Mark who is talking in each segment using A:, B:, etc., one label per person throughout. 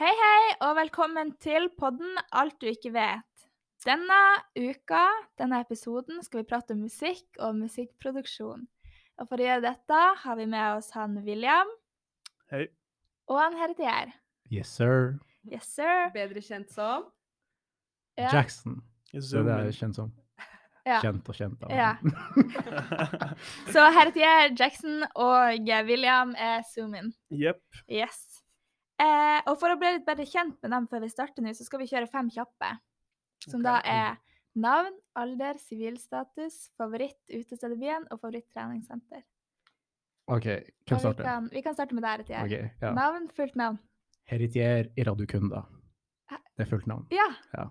A: Hei, hei, og velkommen til podden Alt du ikke vet. Denne uka, denne episoden, skal vi prate om musikk og musikkproduksjon. Og for å gjøre dette har vi med oss han William.
B: Hei.
A: Og han Herdier.
C: Yes, sir.
A: Yes, sir.
D: Bedre kjent som
A: Ja.
C: Jackson. Det er det
B: Zoomen.
C: jeg er kjent som.
A: Ja.
C: Kjent og kjent. av
A: Ja.
C: han.
A: Så Herdier, Jackson og William er Zoom-in.
B: Jepp.
A: Yes. Eh, og for å bli litt bedre kjent med dem før vi starter nå, så skal vi kjøre fem kjappe. Som
B: Ok.
A: da er navn, alder, sivilstatus, favoritt utested i byen og favoritt treningssenter. Og
C: OK,
A: vi
C: hvem starter?
A: kan, vi kan starte med deg, Retier.
C: Ok, ja.
A: Navn, fullt navn.
C: Heritier Iradukunda. Det er fullt navn.
A: Ja.
C: Ja.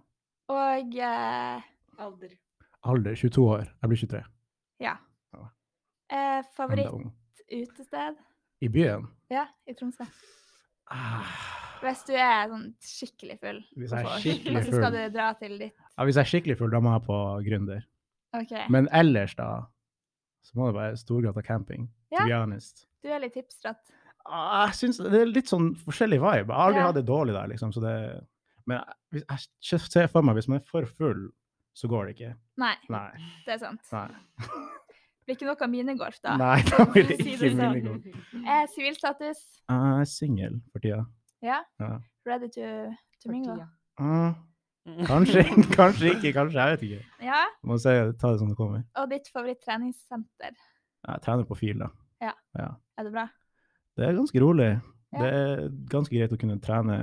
A: Og eh,
D: alder.
C: Alder 22 år. Jeg blir 23.
A: ja.
C: Ja.
A: Eh,
C: Enda
A: favoritt
C: ung.
A: utested?
C: I byen?
A: Ja, i Tromsø.
C: Ah,
A: Hvis du er sånn skikkelig full.
C: Hvis jeg er
A: og så-
C: skikkelig
A: Og så skal
C: full.
A: du dra til ditt.
C: Ja, hvis jeg er skikkelig full, da må jeg på Gründer.
A: OK.
C: Men ellers, da, så må det være Storgata camping.
A: Ja.
C: To be honest.
A: Du er litt hipstratt.
C: Ah, jeg synes det er litt sånn forskjellig vibe. Jeg har aldri
A: Ja.
C: hatt det dårlig der, liksom. Så det, men jeg, hvis- jeg ser for meg hvis man er for full, så går det ikke.
A: Nei,
C: Nei.
A: det er sant.
C: Nei.
A: Blir ikke noe av minigolf, da.
C: Nei, da blir det
A: Si det
C: ikke
A: sånn.
C: minigolf.
A: Eh, Sivilstatus?
C: Jeg er singel for tida.
A: Ja.
C: Ja.
A: Ready to, to mingle?
D: Partiet.
C: Ah,
A: Mm.
C: kanskje, kanskje ikke, kanskje. Jeg vet ikke.
A: Ja.
C: Jeg må se, ta det som det kommer.
A: Og ditt favoritt-treningssenter?
C: Jeg trener på fil, da.
A: Er det bra?
C: Det er ganske rolig.
A: Ja.
C: Det er ganske greit å kunne trene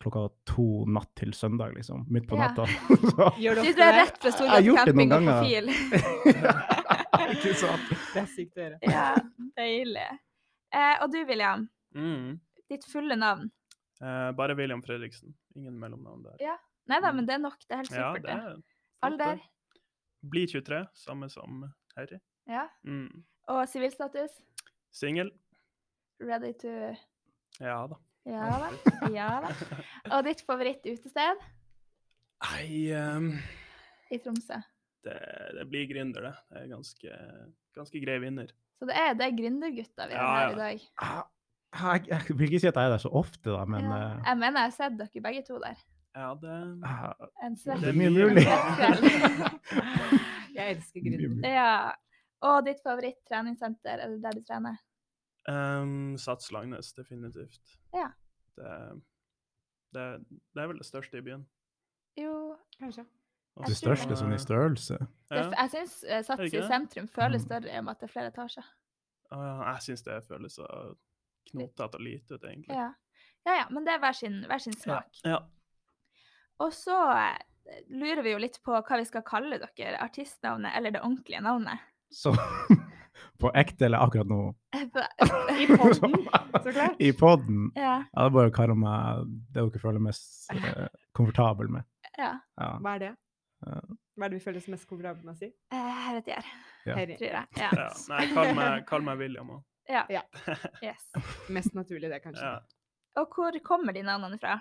C: klokka to natt til søndag, liksom. Midt på
A: Ja.
C: natta. Så-
D: Gjør
A: Du
D: det ofte
A: drar
D: der?
A: rett fra
C: Jeg har
A: Storgata
C: gjort det noen
A: camping og på
C: ganger.
A: fil.
C: ikke sant?
D: Det er sykt å gjøre.
A: Ja, deilig. Eh, og du, William.
B: Mm.
A: Ditt fulle navn.
B: Eh, bare William Fredriksen. Ingen mellomnavn der.
A: Nei da,
B: Mm.
A: men det er nok. Det er helt
B: Ja,
A: supert.
B: det
A: det.
B: er flott,
A: Alder.
B: det. Blir 23, samme som Harry.
A: Ja.
B: Mm.
A: Og sivilstatus.
B: Singel.
A: Ready to
B: Ja da.
A: Ja da. Ja da. Og ditt favoritt-utested
B: Nei, ehm,
A: i Tromsø.
B: det, det blir gründer, det. Det er ganske, ganske grei vinner.
A: Så det er, det er gründergutta vi har
B: Ja,
A: her i
B: ja.
A: dag.
C: Jeg, Ah, jeg, jeg vil ikke si at jeg er der så ofte, da, men
A: ja.
C: eh,
A: Jeg mener jeg har sett dere begge to der.
B: Ja, det
C: ah,
A: En
C: det
A: svett
C: er mye
B: mye.
C: mulig.
D: Jeg elsker
C: Mye
D: grunn.
C: mulig.
A: Ja. Og ditt favoritt-treningssenter, eller der du trener.
B: ehm, Sats Langnes, definitivt.
A: Ja.
B: Det, det, det er vel det største i byen.
A: Jo
D: Kanskje.
B: Og
C: Det
A: Jeg tror det.
C: største som sånn i størrelse.
A: det,
B: Ja.
A: Jeg syns eh, Sats
B: det
A: i
B: ikke det?
A: sentrum føles
C: Mm.
A: større i og med at det er flere etasjer.
B: Ah, jeg syns det føles så knotete og lite ut, egentlig.
A: Ja. ja ja, men det er hver sin, hver sin
B: Ja.
A: smak.
B: ja.
A: Og så eh, lurer vi jo litt på hva vi skal kalle dere. Artistnavnet eller det ordentlige navnet.
C: Så på ekte eller akkurat nå?
D: I podden, så klart.
C: I podden.
A: ja,
C: Ja, det er bare å kalle meg det dere føler mest eh, komfortabel med.
A: ja.
C: Ja.
D: Hva er det?
C: Ja.
D: Hva er det vi føles mest komfortable med å si?
A: Eh, Jeg vet ikke,
C: Ja.
D: Harry.
A: tror jeg. Ja.
B: ja. Nei, kall meg, kall meg William òg.
A: Ja.
D: Ja.
A: Yes.
D: Mest naturlig det, kanskje.
B: Ja.
A: Og hvor kommer de navnene fra?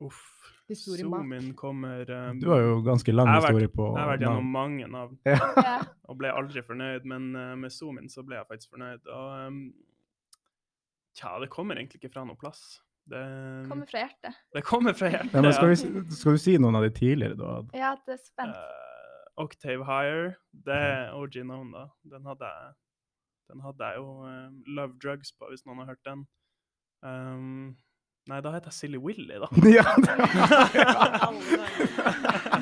B: Uff.
D: Historien bak.
B: Zoomen kommer um,
C: Du har jo ganske lang
B: jeg har vært-
C: historie på
B: Jeg har vært
C: navn.
B: gjennom mange navn
C: Ja.
A: Ja.
B: og ble aldri fornøyd, men eh, med Zoomin så ble jeg faktisk fornøyd. Og um, tja, det kommer egentlig ikke fra noen plass. Det, ehm,
A: Kommer fra hjertet.
B: det kommer fra hjertet.
C: Ja, men skal, vi,
B: ja.
C: si- skal du si noen av de tidligere du har hatt?
A: Ja, det er spent.
B: Eh, Octave Higher, det er
C: Mhm.
B: OG Known, da. Den hadde jeg, den hadde jeg jo um, Love Drugs på, hvis noen har hørt den. Um, nei, da heter jeg Silly Willy, da.
C: Ja, det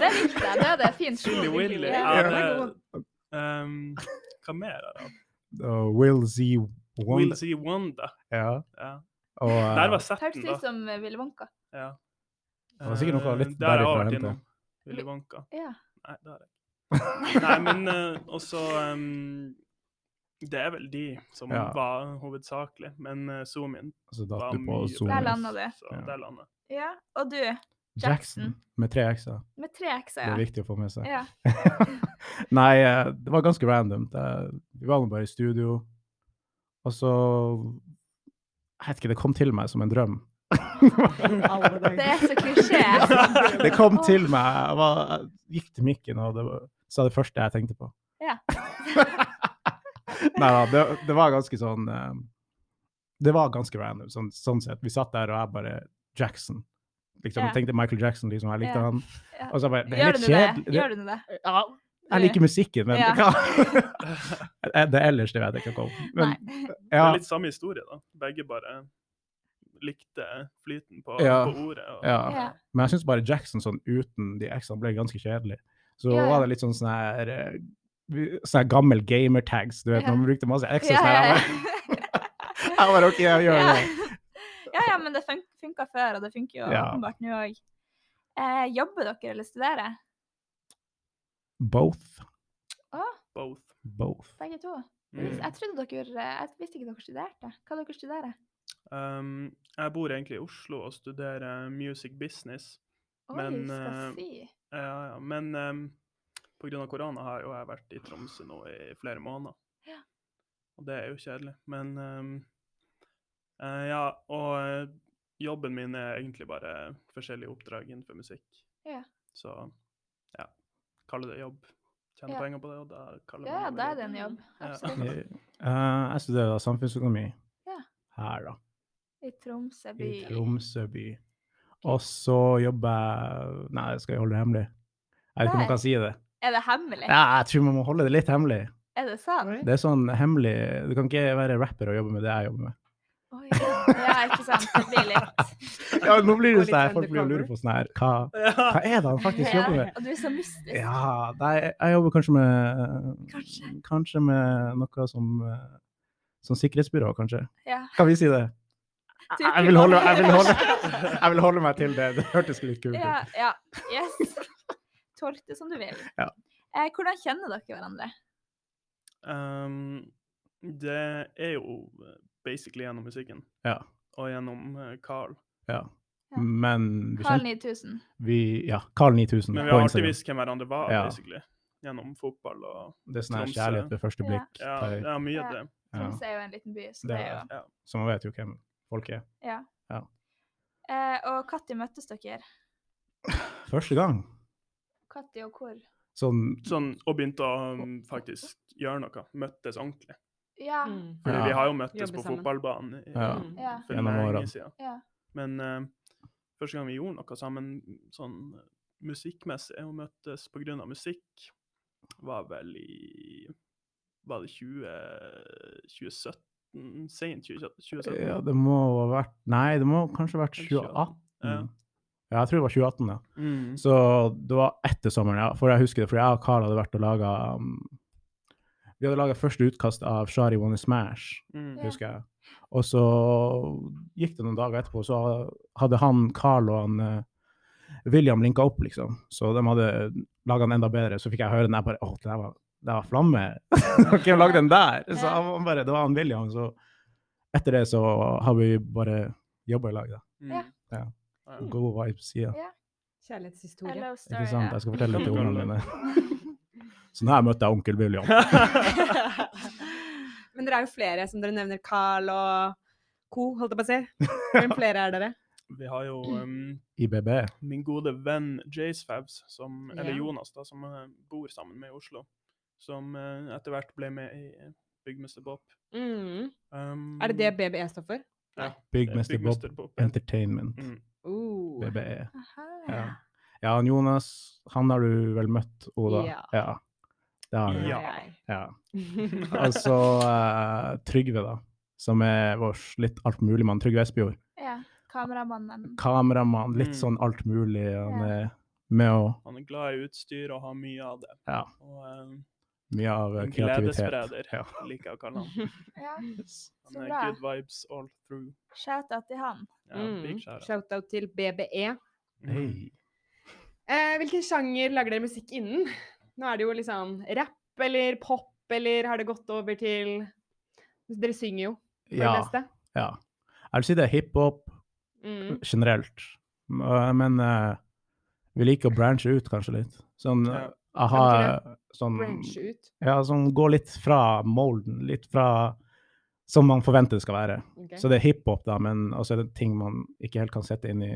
A: Det likte jeg. Det er det fint.
B: Silly
A: slå.
B: Willy.
A: Ja.
B: Ja,
C: den
D: er
B: det, um, hva mer er det?
C: Og Will Z.
B: Will
C: Wonder.
B: Z Wanda.
C: Ja.
B: Ja.
C: Og, eh,
B: Der var
A: Hørtes
B: setten,
A: litt
B: da.
A: som eh, Ville Wonka.
B: Ja.
C: Det var sikkert noe
B: Eh,
C: litt
B: der har jeg
C: derifra
B: vært
C: hentet.
B: innom. Willy Wonka.
A: Ja.
B: Nei, det har jeg ikke. Nei, men eh, også um, Det er vel de som
C: Ja.
B: var hovedsakelig. Men uh, zoom in
C: så
B: var
C: datt du på
B: mye
C: Zoom.
A: Der landet det.
B: Så,
C: Ja.
B: der landet.
A: ja. Og du,
C: Jackson med tre x-er.
A: med tre
C: Det er
A: x-er, ja.
C: viktig å få med seg.
A: ja.
C: Nei, eh, det var ganske randomt. Eh, Vi var nå bare i studio, og så Jeg vet ikke, det kom til meg som en drøm.
D: Alle
A: Det
D: dager.
A: er så klisjé.
C: Det kom til meg. Jeg, var, jeg gikk til mikken og det var, sa det første jeg tenkte på.
A: Ja.
C: Nei da, det, det var ganske sånn eh, Det var ganske random, sånn, sånn sett. Vi satt der, og jeg bare Jackson. Liksom,
A: Ja.
C: Jeg tenkte Michael Jackson, liksom. Jeg likte
A: Ja.
C: han.
A: Ja.
C: Og så bare, det er
A: Gjør
C: helt
A: du
C: kjedelig.
A: det? Gjør du det?
C: Ja, jeg liker musikken, men
A: Ja.
C: hva Det ellers det vet jeg ikke om. Men,
A: Nei.
B: Det
C: ja,
B: er litt samme historie, da. Begge bare likte flyten på,
C: Ja.
B: på ordet. Og,
C: ja.
A: Ja.
C: Men jeg syns bare Jackson sånn uten de ekstra ble ganske kjedelig. Så
A: Ja, ja.
C: var det litt sånn sånn her eh, vi- Sånn her gammel gamertags, du vet,
A: Ja.
C: når man brukte masse ekstra.
A: Ja,
C: sånn her,
A: ja,
C: jeg bare- Jeg bare OK, jeg gjør
A: ja.
C: det.
A: ja, ja, men det fun funka før, og det funker jo
C: Ja.
A: åpenbart nå òg. Eh, jobber dere eller studerer?
C: Both.
A: Å,
B: Both.
C: Both.
A: begge to.
B: Mm.
A: Jeg trodde dere Jeg visste ikke dere studerte. Hva dere studerer?
B: Um, jeg bor egentlig i Oslo og studerer music business.
A: Oi,
B: Men,
A: skal
B: eh,
A: si.
B: Ja, ja. Men um, pga. korona har jo jeg vært i Tromsø nå i flere måneder.
A: Ja.
B: Og det er jo kjedelig. Men um, eh, ja, og eh, jobben min er egentlig bare forskjellige oppdrag innenfor musikk.
A: Ja.
B: Så ja, kaller det jobb. Tjener
A: Ja.
B: penger på det, og da kaller
A: Ja, ja,
B: man
A: da er
B: det
A: det en jobb.
B: Ja.
A: Absolutt.
C: Eh, jeg studerer da samfunnsøkonomi
A: Ja.
C: her, da.
A: I Tromsø by.
C: I Tromsø by. Og så jobber jeg Nei, skal jeg holde det hemmelig? Jeg vet ikke om
A: Nei.
C: man kan si det.
A: Er det hemmelig?
C: Ja, jeg tror man må holde det litt hemmelig.
A: Er det sant?
C: Det er sånn hemmelig Du kan ikke være rapper og jobbe med det jeg jobber med.
A: Oi, ja, ikke sant. Det blir litt
C: Ja, nå blir det
D: Gå litt
C: sånn her, folk blir jo
D: undercover.
C: lurer på sånn her Hva, hva
B: Ja.
C: er det han faktisk
A: ja.
C: jobber med?
A: Og du er så mystisk.
C: Ja, nei, jeg jobber kanskje med eh,
A: Kanskje.
C: Kanskje med noe som eh, Som sikkerhetsbyrå, kanskje.
A: Ja.
C: Kan vi si det?
A: Du
C: Jeg vil holde, jeg vil holde,
A: kunne-
C: jeg vil holde meg til det. Det hørtes litt kult ut.
A: Ja, ja. Yes. Tolk det som du vil.
C: Ja.
A: Eh, hvordan kjenner dere hverandre?
B: Um, det er jo eh, basically gjennom musikken.
C: Ja. Mm.
B: Og gjennom eh, Carl.
A: Ja.
C: Men vi
A: Carl
C: kjente
A: 9000.
C: vi, Ja, Carl 9000
B: Men vi
C: på
B: har alltid
C: Instagram.
B: visst hvem hverandre var,
C: Ja.
B: basically. Gjennom fotball og
C: Det er sånn her
B: Tromsø.
C: kjærlighet ved første
A: Ja.
C: blikk.
B: Ja,
C: tar jeg.
B: ja mye
A: Ja.
B: av det.
C: Ja.
A: Tromsø er jo en liten by, så
C: Det
A: det er jo
C: er- Så man vet jo hvem folk er.
A: eh, Og når møttes dere?
C: Første gang
A: Når og hvor?
C: sånn
B: Sånn, og begynte å um, faktisk gjøre noe. Møttes ordentlig.
A: Ja.
D: Mm.
B: Fordi
C: Ja.
B: vi har jo møttes
D: Jobbe
B: på
D: sammen.
B: fotballbanen i,
C: Ja.
D: Mm.
A: Ja.
B: for
C: Gjennom
B: lenge
C: årene.
B: siden.
A: Ja.
B: Men eh, første gang vi gjorde noe sammen sånn eh, musikkmessig, og møttes på grunn av musikk, var vel i Var det 20, 2017? Sent 20, 2017?
C: Ja, det må ha vært Nei, det må kanskje ha vært 2018.
B: Ja.
C: Ja, jeg tror det var 2018, ja.
B: Mm.
C: Så det var etter sommeren, ja. For jeg husker det, fordi jeg og Carl hadde vært og laga um, Vi hadde laga første utkast av Shari Wanna Smash,
B: Mm.
A: Ja.
C: husker jeg. Og så gikk det noen dager etterpå, så hadde han Carl og han eh, William linka opp, liksom. Så de hadde laga den enda bedre. Så fikk jeg høre den der bare Å, det der var, det var flamme! Hvem lagde den der? Så
A: Ja.
C: han bare, det var han William. Så etter det så har vi bare jobba i lag, da.
A: Ja.
B: Mm.
C: Ja.
B: Ja.
C: Gode vibes, ja.
D: Kjærlighetshistorie.
A: Hello story.
C: Ikke sant?
A: ja.
C: Jeg skal
B: Kan
C: fortelle litt
B: du
C: til ungene
B: kalle
C: mine. Sånn her møtte jeg onkel William.
D: Men dere er jo flere, som dere nevner. Carl og co., holdt jeg på å si. Hvem flere er dere?
B: Vi har jo um,
C: IBB.
B: min gode venn Jace Fabs, som, eller
D: Ja.
B: Jonas, da, som jeg bor sammen med i Oslo, som eh, etter hvert ble med i eh, Byggmester Bob.
D: Mm.
B: Um,
D: Er det det BBE står for?
C: Byggmester Bob
B: ja.
C: Entertainment.
B: Mm.
D: Uh.
C: BBE.
A: Aha.
C: Ja. ja, han Jonas, han har du vel møtt, Oda?
D: Ja.
C: Ja. Det har han.
D: Nei,
C: Ja.
B: Ja.
D: nei.
C: ja. Og så eh, Trygve, da. Som er vår litt altmuligmann. Trygve Espejord.
A: ja. Kameramannen.
C: Kameramann,
B: Mm.
C: litt sånn altmulig. Han
A: Ja.
C: er med å
B: Han er glad i utstyr og har mye av det.
C: Ja.
B: Og um,
C: Mye av eh,
B: en
C: kreativitet.
B: gledesspreder,
C: Ja.
B: liker jeg å kalle han.
A: Ja. Så
B: Han er
A: bra.
B: good vibes all through.
A: Shout-out til han.
B: Ja,
D: Mm.
B: big shout out.
D: Shoutout til BBE.
B: Mm.
C: Hei.
D: Eh, hvilken sjanger lager dere musikk innen? Nå er det jo liksom rapp eller pop, eller har det gått over til Dere synger jo for
C: Ja.
D: det meste.
C: ja. Jeg vil si det er hiphop.
D: Mm.
C: generelt. M- øh, Men øh, vi liker å branche ut kanskje litt. Sånn
B: Ja.
C: øh, aha,
D: Ja,
C: sånn,
D: Branch ut.
C: ja, sånn gå litt fra molden, litt fra som man forventer det skal være.
D: ok.
C: Så det er hiphop, da, men også er det ting man ikke helt kan sette inn i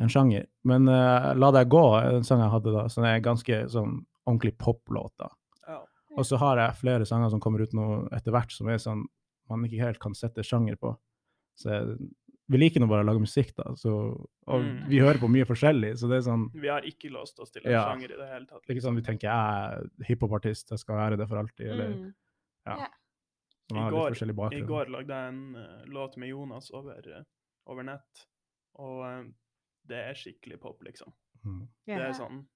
C: en sjanger. Men øh, La deg gå, er en sang jeg hadde da, som er ganske sånn ordentlig poplåt. da.
B: Ja.
C: Og så har jeg flere sanger som kommer ut nå etter hvert, som er sånn man ikke helt kan sette sjanger på. Så jeg vi liker nå bare å lage musikk, da. Så, og
B: Mm.
C: vi hører på mye forskjellig. Så det er sånn
B: Vi har ikke låst oss til en
C: Ja.
B: sjanger i det hele tatt.
C: det er ikke sånn vi tenker jeg er hiphop-artist, jeg skal være det for alltid. Eller
D: Mm.
C: man
B: I
C: har
B: går-
C: litt forskjellig
B: I
C: bakgrunn.
B: går lagde jeg en eh, låt med Jonas over, eh, over nett, og eh, det er skikkelig pop, liksom.
C: Mm.
B: Det
D: Ja.
B: er sånn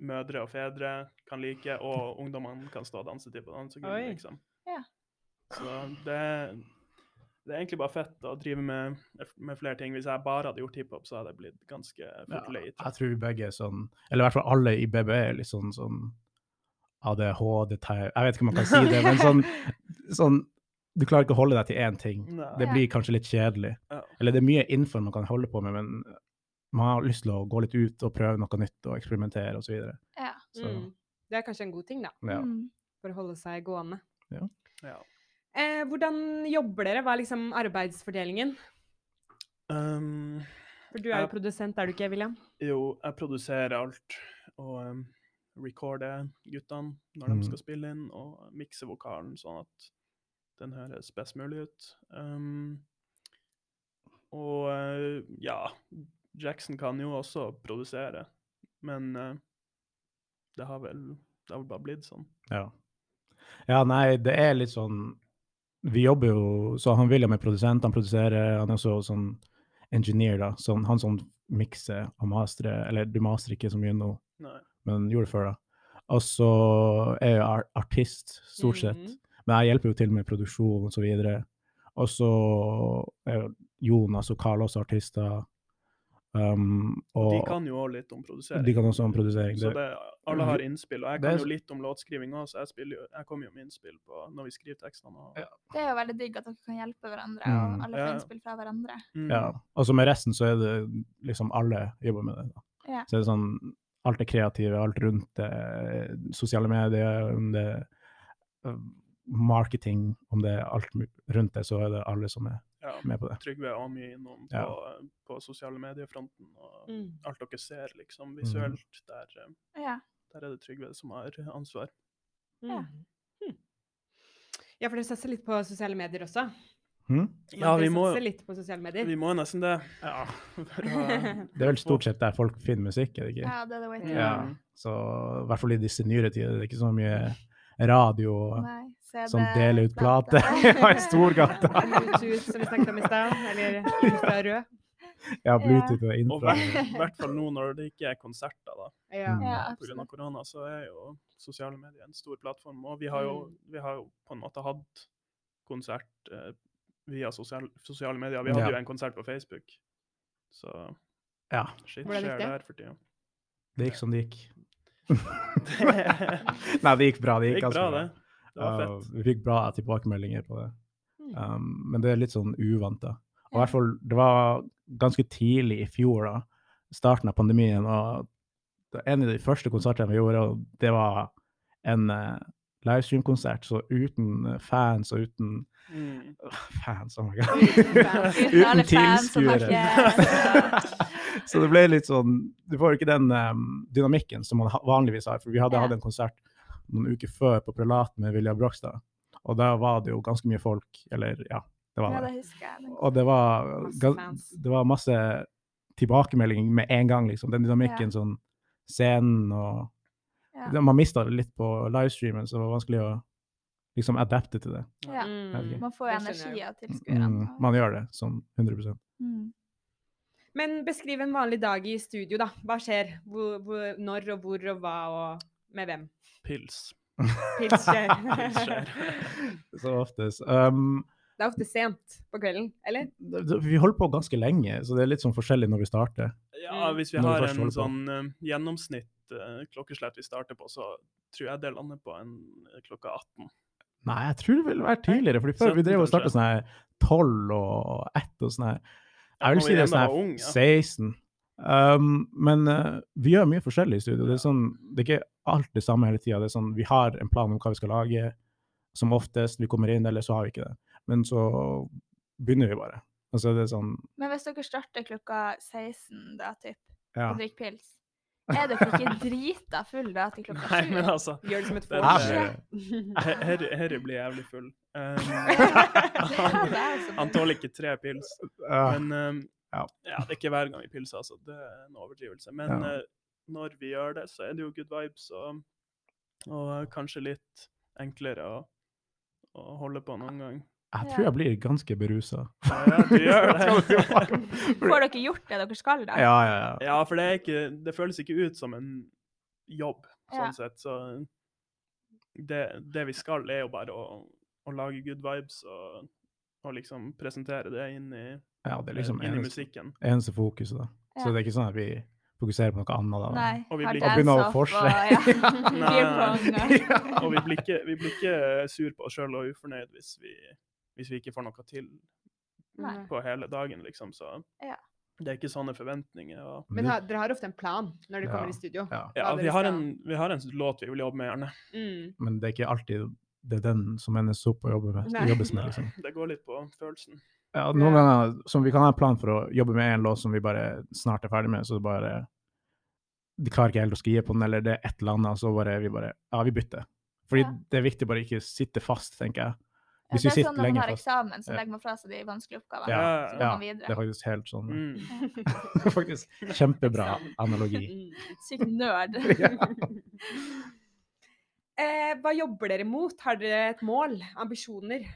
B: mødre og fedre kan like, og ungdommene kan stå og danse til på dansegulvet,
D: Oi.
B: liksom.
A: Ja.
B: Så det, det er egentlig bare fett å drive med, med flere ting. Hvis jeg bare hadde gjort hiphop, så hadde jeg blitt ganske fort
C: Ja, Altså,
B: løyt.
C: jeg tror vi begge er sånn, eller i hvert fall alle i BBE er litt sånn, sånn ADHD -type. Jeg vet ikke om man kan si det, men sånn, sånn Du klarer ikke å holde deg til én ting.
B: Nei.
C: Det blir kanskje litt kjedelig.
B: Ja.
C: Eller det er mye innenfor man kan holde på med, men man har lyst til å gå litt ut og prøve noe nytt og eksperimentere osv. Så, videre.
A: Ja.
C: så
D: Mm. Det er kanskje en god ting, da.
C: ja.
A: Mm.
D: For å holde seg gående.
B: Ja.
D: Eh, hvordan jobber dere? Hva er liksom arbeidsfordelingen?
B: Um,
D: For du er
B: Jeg-
D: jo produsent, er du ikke, William?
B: Jo, jeg produserer alt og um, recorder guttene når
C: Mm.
B: de skal spille inn, og mikser vokalen sånn at den høres best mulig ut. Um, og eh, ja, Jackson kan jo også produsere, men eh, det har vel det har vel bare blitt sånn.
C: Ja. ja, nei, det er litt sånn Vi jobber jo Så han William er produsent, han produserer, han er også sånn engineer, da. Sånn, han som mikser og masterer Eller du masterer ikke så mye nå,
B: Nei.
C: men gjorde det før, da. Og så er jeg ar- artist, stort sett.
B: Mm.
D: Mhm.
C: Men jeg hjelper jo til med produksjon og så videre. Og så er jo Jonas og Carl også artister. Um, og
B: De kan jo òg litt om produsering.
C: de kan også ha en produsering.
B: Så
C: Det,
B: det, alle har innspill, og jeg
C: Det er
B: kan
C: s-
B: jo litt om låtskriving òg, så jeg, spiller jo, jeg kommer jo med innspill på når vi skriver tekstene. Og,
C: Ja.
A: Det er jo veldig digg at dere kan hjelpe hverandre,
C: Mm.
A: og alle får
B: Ja.
A: innspill fra hverandre.
B: Mm.
C: Ja. Og så med resten så er det liksom alle jobber med det. Da.
A: Ja.
C: Så er det sånn alt det kreative, alt rundt det, sosiale medier, om det eh, marketing, om det er alt mu- rundt det, så er det alle som er
B: Ja.
C: med på det.
B: Trygve er mye innom på,
C: Ja.
B: på sosiale mediefronten. Og
D: Mm.
B: alt dere ser
C: Mhm.
B: liksom visuelt, der, eh,
A: Ja.
B: der er det Trygve som har ansvar.
A: Ja.
D: Mm. Hm. Ja, for dere satser litt på sosiale medier også.
C: Hm?
B: Ja, vi
D: dere
B: må,
D: satser litt på sosiale medier.
B: vi må nesten det. Ja. For å,
C: Det er vel stort sett der folk finner musikk, er det ikke?
A: ja, det er det
D: Ja.
A: waiting.
C: Ja. Så i hvert fall i disse nyere tider, det er ikke så mye radio
A: Nei, så er
C: som
A: det
C: deler ut plater ja, i Storgata.
D: Bluetooth, som vi snakket om i stad. Eller Insta Rød.
C: Ja, Bluetooth og
B: og i
C: infra.
B: hvert- i hvert fall nå når det ikke er konserter, da.
D: Ja.
C: Mm.
A: Ja,
B: På grunn av
A: absolutt.
B: korona så er jo sosiale medier en stor plattform. Og vi har jo,
D: Mm.
B: vi har jo på en måte hatt konsert eh, via sosial, sosiale medier. Vi hadde
C: Ja.
B: jo en konsert på Facebook, så
C: Ja,
B: shit
D: Hvordan gikk
B: skjer
D: det?
B: der for tida.
C: det gikk som det gikk.
B: det
C: Nei, det gikk bra. Det gikk,
B: gikk
C: ganske
B: bra, det. Det var
C: Uh,
B: fett.
C: vi fikk bra tilbakemeldinger på det.
D: Mm.
C: Um, men det er litt sånn uvant, da. Og
A: Ja.
C: i hvert fall, det var ganske tidlig i fjor, da, starten av pandemien, og det- en av de første konsertene vi gjorde, og det var en eh, livestream-konsert, så uten eh, fans og uten
B: Mm.
C: Fans, oh my god.
D: Uten fans.
A: Uten alle
C: uten
A: fans som har
C: tilskuere.
A: ikke-
C: så det ble litt sånn Du får jo ikke den em, dynamikken som man ha- vanligvis har. For vi hadde
A: Ja.
C: hatt en konsert noen uker før på Prelaten med Vilja Brogstad, og da var det jo ganske mye folk. Eller, ja, det var
A: Ja,
C: det.
A: det husker jeg.
C: Og det var,
D: Masse
C: gan-
D: fans.
C: det var masse tilbakemelding med en gang, liksom. Den dynamikken, sånn scenen og
A: Ja.
C: det- Man mista det litt på livestreamen, så det var vanskelig å liksom adapte til det.
A: Ja.
D: Mm.
A: Man får jo
D: Det skjønner jeg
A: energi av tilskuerne.
C: Mm, man gjør det sånn 100
A: Mm.
D: Men beskriv en vanlig dag i studio, da. Hva skjer? Hvor, hvor, når og hvor og hva og med hvem?
B: Pils.
D: Pils skjer.
B: Pils skjer.
C: så oftest. Um,
D: Det er ofte sent på kvelden, eller?
C: det- det- Vi holder på ganske lenge, så det er litt sånn forskjellig når vi starter.
B: Ja,
D: Mm.
B: hvis vi
C: Når vi
B: har
C: først
B: en
C: holder på.
B: sånn eh, gjennomsnitt eh, klokkeslett vi starter på, så tror jeg det lander på en eh, klokka 18.
C: Nei, jeg tror det ville vært tidligere, for før vi
B: 17
C: drev og starta
B: kanskje.
C: sånn her 12 og 1 og sånn her. Jeg vil
B: når
C: si
B: vi
C: det er
B: ennå
C: sånn
B: var
C: her
B: ung, ja.
C: 16. Um, men eh, vi gjør mye forskjellig i studio. Det er, sånn, det er ikke alt det samme hele tida. Sånn, vi har en plan om hva vi skal lage, som oftest. Vi kommer inn, eller så har vi ikke det. Men så begynner vi bare. Og så er det sånn
A: Men hvis dere starter klokka 16 da, typ,
C: Ja.
A: og drikker pils, er dere ikke drita full da til klokka
B: Nei, men
A: 7?
B: altså
D: Gjør det som et
B: Det er
C: Jeg
D: vors.
C: blir-
B: Herre blir jævlig full. Um,
A: det er også
B: han tåler ikke tre pils.
C: Ja.
B: Men ehm,
C: Ah. Ja.
B: ja. det er ikke hver gang vi pilser, altså. Det er en overdrivelse. Men
C: Ja.
B: eh, når vi gjør det, så er det jo good vibes og, og eh, kanskje litt enklere å, å holde på noen gang.
C: Jeg tror jeg blir ganske berusa.
B: Ja, du gjør det.
A: Får dere gjort det dere skal, da?
C: Ja, ja, ja.
B: Ja, for det, er ikke, det føles ikke ut som en jobb,
A: Ja.
B: sånn sett. Så det, det vi skal, er jo bare å, å lage good vibes og, og liksom presentere det inn i,
C: ja det er liksom
B: inn i
C: eneste,
B: musikken.
C: eneste fokuset, da. Så
A: Ja.
C: det er ikke sånn at vi fokuserer på noe annet, da.
A: Nei.
B: Og vi
A: har
B: blir-
C: Og begynner å
A: dance-off
C: forse.
A: og- ja.
B: Nei.
A: Beer pong, og-
B: Og vi blir ikke, vi blir ikke eh, sur på oss sjøl og ufornøyd hvis vi, hvis vi ikke får noe til
A: Nei.
B: på hele dagen, liksom. Så
A: Ja.
B: det er ikke sånne forventninger. Og,
D: Men ha, dere har ofte en plan når dere
C: Ja.
D: kommer i studio.
C: Ja.
B: ja,
D: dere
B: vi har,
D: skal-
B: en, vi har en låt vi vil jobbe med, gjerne.
D: Mm.
C: Men det er ikke alltid det er den som endes opp og jobber med,
D: Nei.
C: jobbes med, liksom.
B: Det går litt på følelsen.
C: Ja, noen ganger som vi kan ha en plan for å jobbe med en låt som vi bare snart er ferdig med, så bare De klarer ikke helt å skrive på den, eller det er et eller annet, og så bare vi bare Ja, vi bytter. Fordi
A: Ja.
C: det er viktig å bare ikke sitte fast, tenker jeg.
A: Ja,
C: Hvis vi
A: det er
C: sitter
A: sånn når man
C: lenge
A: har
C: fast.
A: eksamen, så
C: Ja.
A: legger man fra seg de vanskelige oppgavene.
C: Ja,
A: Så går
C: ja.
A: man
C: Det er
A: videre.
C: faktisk helt sånn.
B: Mm.
C: Faktisk kjempebra analogi.
D: Mm.
A: Sykt nerd.
D: Eh, hva jobber dere mot? Har dere et mål? Ambisjoner?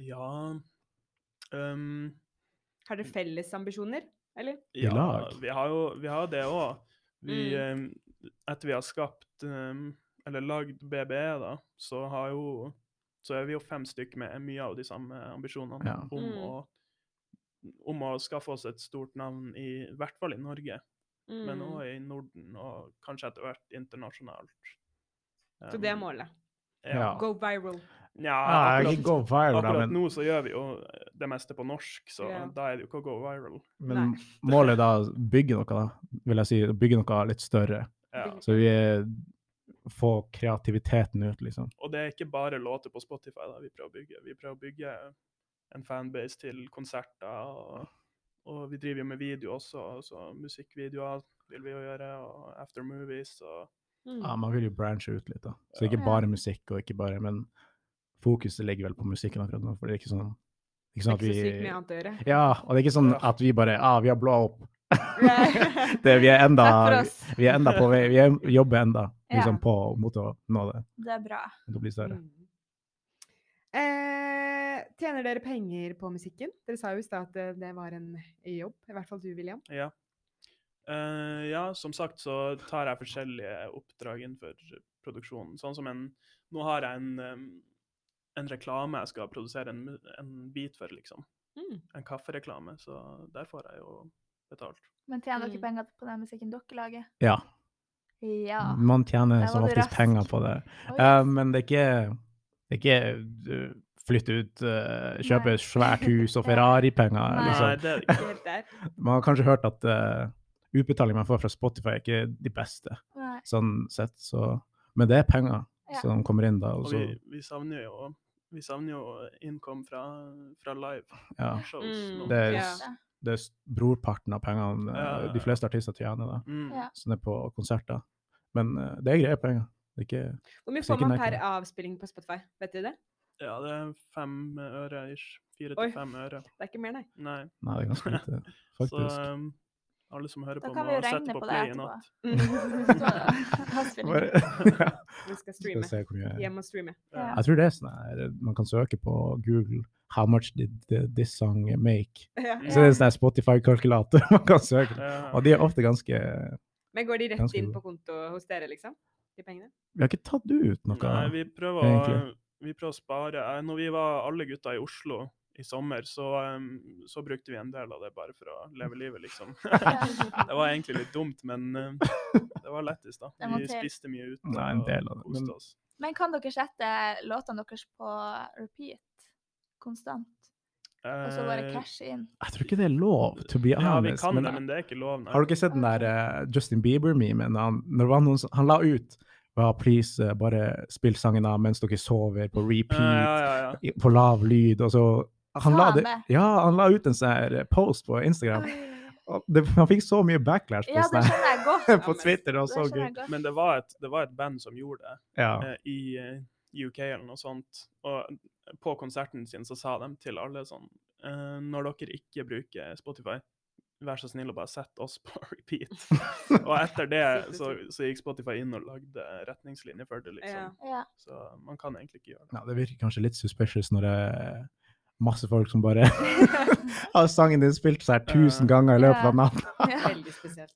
B: Ja um,
D: Har dere felles ambisjoner? Eller?
C: I
B: Ja,
C: lag.
B: vi har jo vi har det òg. Vi,
D: Mm.
B: eh, etter vi har skapt eh, eller lagd BBE, da, så har jo så er vi jo fem stykker med mye av de samme ambisjonene
C: Ja.
B: om,
D: Mm.
B: å, om å skaffe oss et stort navn, i, i hvert fall i Norge, men
D: Mm.
B: òg i Norden, og kanskje etter hvert internasjonalt.
D: Så det er
B: Um,
D: målet.
B: Ja.
C: Ja.
D: Go viral.
B: Nja,
C: Ja, ikke
B: akkurat,
C: go viral, da,
B: akkurat
C: men,
B: nå så gjør vi jo eh, det meste på norsk, så
D: Ja.
B: da er det jo ikke å gå viral.
C: men målet er da å bygge noe, da, vil jeg si. Bygge noe litt større.
B: Ja.
C: Så vi eh, får kreativiteten ut, liksom.
B: Og det er ikke bare låter på Spotify da, vi prøver å bygge. Vi prøver å bygge en fanbase til konserter, og, og vi driver jo med video også, og så musikkvideoer vil vi jo gjøre, og after movies, og
D: Mm.
C: Ja, man vil jo branche ut litt, da. Så ikke
A: Ja.
C: bare musikk, og ikke bare Men fokuset ligger vel på musikken akkurat nå, for det er ikke sånn ikke
D: Det er
C: sånn at
D: ikke så sykt
C: vi
D: mye annet å gjøre.
C: Ja, og det er ikke sånn at vi bare Ja, vi har blå opp.
D: Nei.
C: det, vi er enda
A: Takk for oss.
C: Vi er enda på vei. Vi er, jobber enda
A: Ja.
C: liksom, på mot å nå det.
A: Det er bra.
C: Mot å bli større.
D: Mm. Eh, tjener dere penger på musikken? Dere sa jo i stad at eh, det var en jobb. I hvert fall du, William.
B: ja. Eh, ja, som sagt så tar jeg forskjellige oppdrag innenfor produksjonen. Sånn som en Nå har jeg en, em, en reklame jeg skal produsere en, mu- en bit for, liksom.
D: Mm.
B: En kaffereklame, så der får jeg jo betalt.
A: Men tjener dere
D: Mm.
A: penger på den musikken dere lager?
C: Ja. Mm.
A: Ja.
C: Man tjener
A: Der
C: som
A: var du
C: oftest
A: rask.
C: penger på det.
A: Oi,
C: Eh, men det er ikke, det er ikke uh, flytte ut, eh, kjøpe
A: Nei.
C: svært hus og
A: Ja. Nei.
C: Ferrari-penger.
B: Nei,
C: Liksom.
B: det er det
D: Ikke
B: ikke.
D: helt der.
C: Man har kanskje hørt at uh, utbetalingene man får fra Spotify, er ikke de beste,
A: nei.
C: sånn sett. Så, men det er penger
A: Ja.
C: som kommer inn da. Og
B: Og
C: så,
B: vi, vi savner jo vi savner jo innkom fra, fra live-shows.
C: ja,
D: Mm.
B: nå.
C: det, er,
D: Ja.
C: s- det er s- brorparten av pengene eh,
B: Ja.
C: de fleste artister tjener, da,
B: Mm.
A: Ja.
C: som er på konserter. Men eh, det er greie penger. Det er ikke,
D: Hvor mye
C: Så
D: får
C: ikke
D: man
C: merker
D: per
C: det.
D: avspilling på Spotify? Vet dere det?
B: ja, det er fem øre ish. Fire
D: Oi.
B: til fem øre.
D: Det er ikke mer, nei.
B: Nei.
C: nei, det er ganske lite, faktisk.
B: Så um, alle som hører
A: Da
B: på,
A: kan vi
B: må
A: jo regne
B: sette på
A: på det
B: play i
A: etterpå.
B: natt.
D: Mm.
A: Så da, da spiller vi.
C: Bare- ja,
D: Vi skal
C: skal
D: streame.
C: se hvor mye
D: Hjem og streame.
A: Ja.
C: Jeg tror det er sånn her, man kan søke på Google How much did the- this song make?
D: Ja.
C: Så det er en sånn her Spotify-kalkulator man kan søke.
B: Ja.
C: Og de er ofte ganske
D: Men går de rett
C: Ganske
D: inn
C: god.
D: på konto hos dere, liksom? De pengene?
C: Vi har ikke tatt ut noe.
B: Nei, vi prøver, å,
C: egentlig.
B: vi prøver å spare. Eh, Når vi var alle gutta i Oslo i sommer, så, um, så brukte vi en del av det bare for å leve livet, liksom. det var egentlig litt dumt, men um, det var lettest, da.
A: Det var
B: Vi
A: til-
B: spiste mye ute
C: Nei, en del av det,
B: og koste
C: men-
B: oss.
A: Men kan dere sette låtene deres på repeat konstant? Og så bare
B: Eh,
A: cashe inn?
C: Jeg tror ikke det er lov, to be
B: Ja, vi
C: honest.
B: kan
C: men
B: det, men det er ikke lov. nei.
C: Har du ikke sett den der eh, Justin Bieber-memen? Han, når det var noen, som- han la ut ja, 'Please, eh, bare spill sangen av mens dere sover', på repeat,
B: Eh, Ja, ja, ja, ja.
C: i- på lav lyd, og så han
A: Sa
C: la,
A: han
C: det,
A: det?
C: ja, han la ut en sånn her post på Instagram. Og det, han fikk så mye backlash på,
A: Ja, det
C: sånn her-
A: skjønner jeg godt.
D: skjønner jeg.
C: på Twitter. Det var
A: Det
C: så
A: skjønner
C: gøy.
A: jeg godt.
B: Men det var, et, det var et band som gjorde det
C: Ja.
B: eh, i, eh, UK eller noe sånt, og på konserten sin så sa de til alle sånn eh, Når dere ikke bruker Spotify, vær så snill å bare sette oss på repeat. og etter det så, så gikk Spotify inn og lagde retningslinjer for det, liksom.
A: Ja.
B: Så man kan egentlig ikke gjøre det.
C: Ja, det virker kanskje litt suspicious når det er masse folk som bare har sangen din spilt seg tusen ganger i løpet av natta.
D: Veldig spesielt.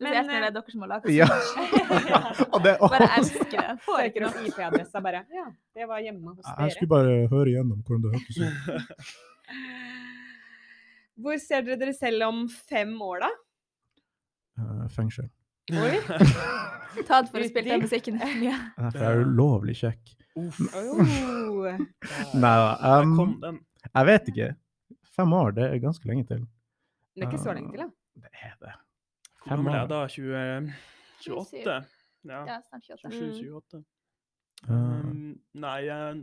D: Men,
A: Spesielt når det
D: eh,
A: er dere som har laget
C: Ja.
A: den.
C: Og det,
A: Bare elsker det. Får ikke
D: Søker
A: noe.
D: opp IP-adressa bare. Ja, det var hjemme hos
C: jeg
D: dere.
C: skulle bare høre igjennom hvordan det hørtes ut.
D: Hvor ser dere dere selv om fem år, da?
C: Eh, fengsel.
D: Oi.
A: Tatt for å spille den musikken for mye.
C: Nei, For jeg er ulovlig kjekk.
B: Uff.
D: Oh.
B: der-
C: Nei,
B: der
C: um,
B: kom den.
C: Jeg vet ikke. Fem år, det er ganske lenge til.
D: Det er ikke så lenge til, da.
C: Det er det.
B: Hvor
C: fem
B: gammel er
C: år.
B: jeg da? 20, 28? Ja.
A: Ja, snart 28.
B: 27-28.
C: Eh,
B: Um, nei, jeg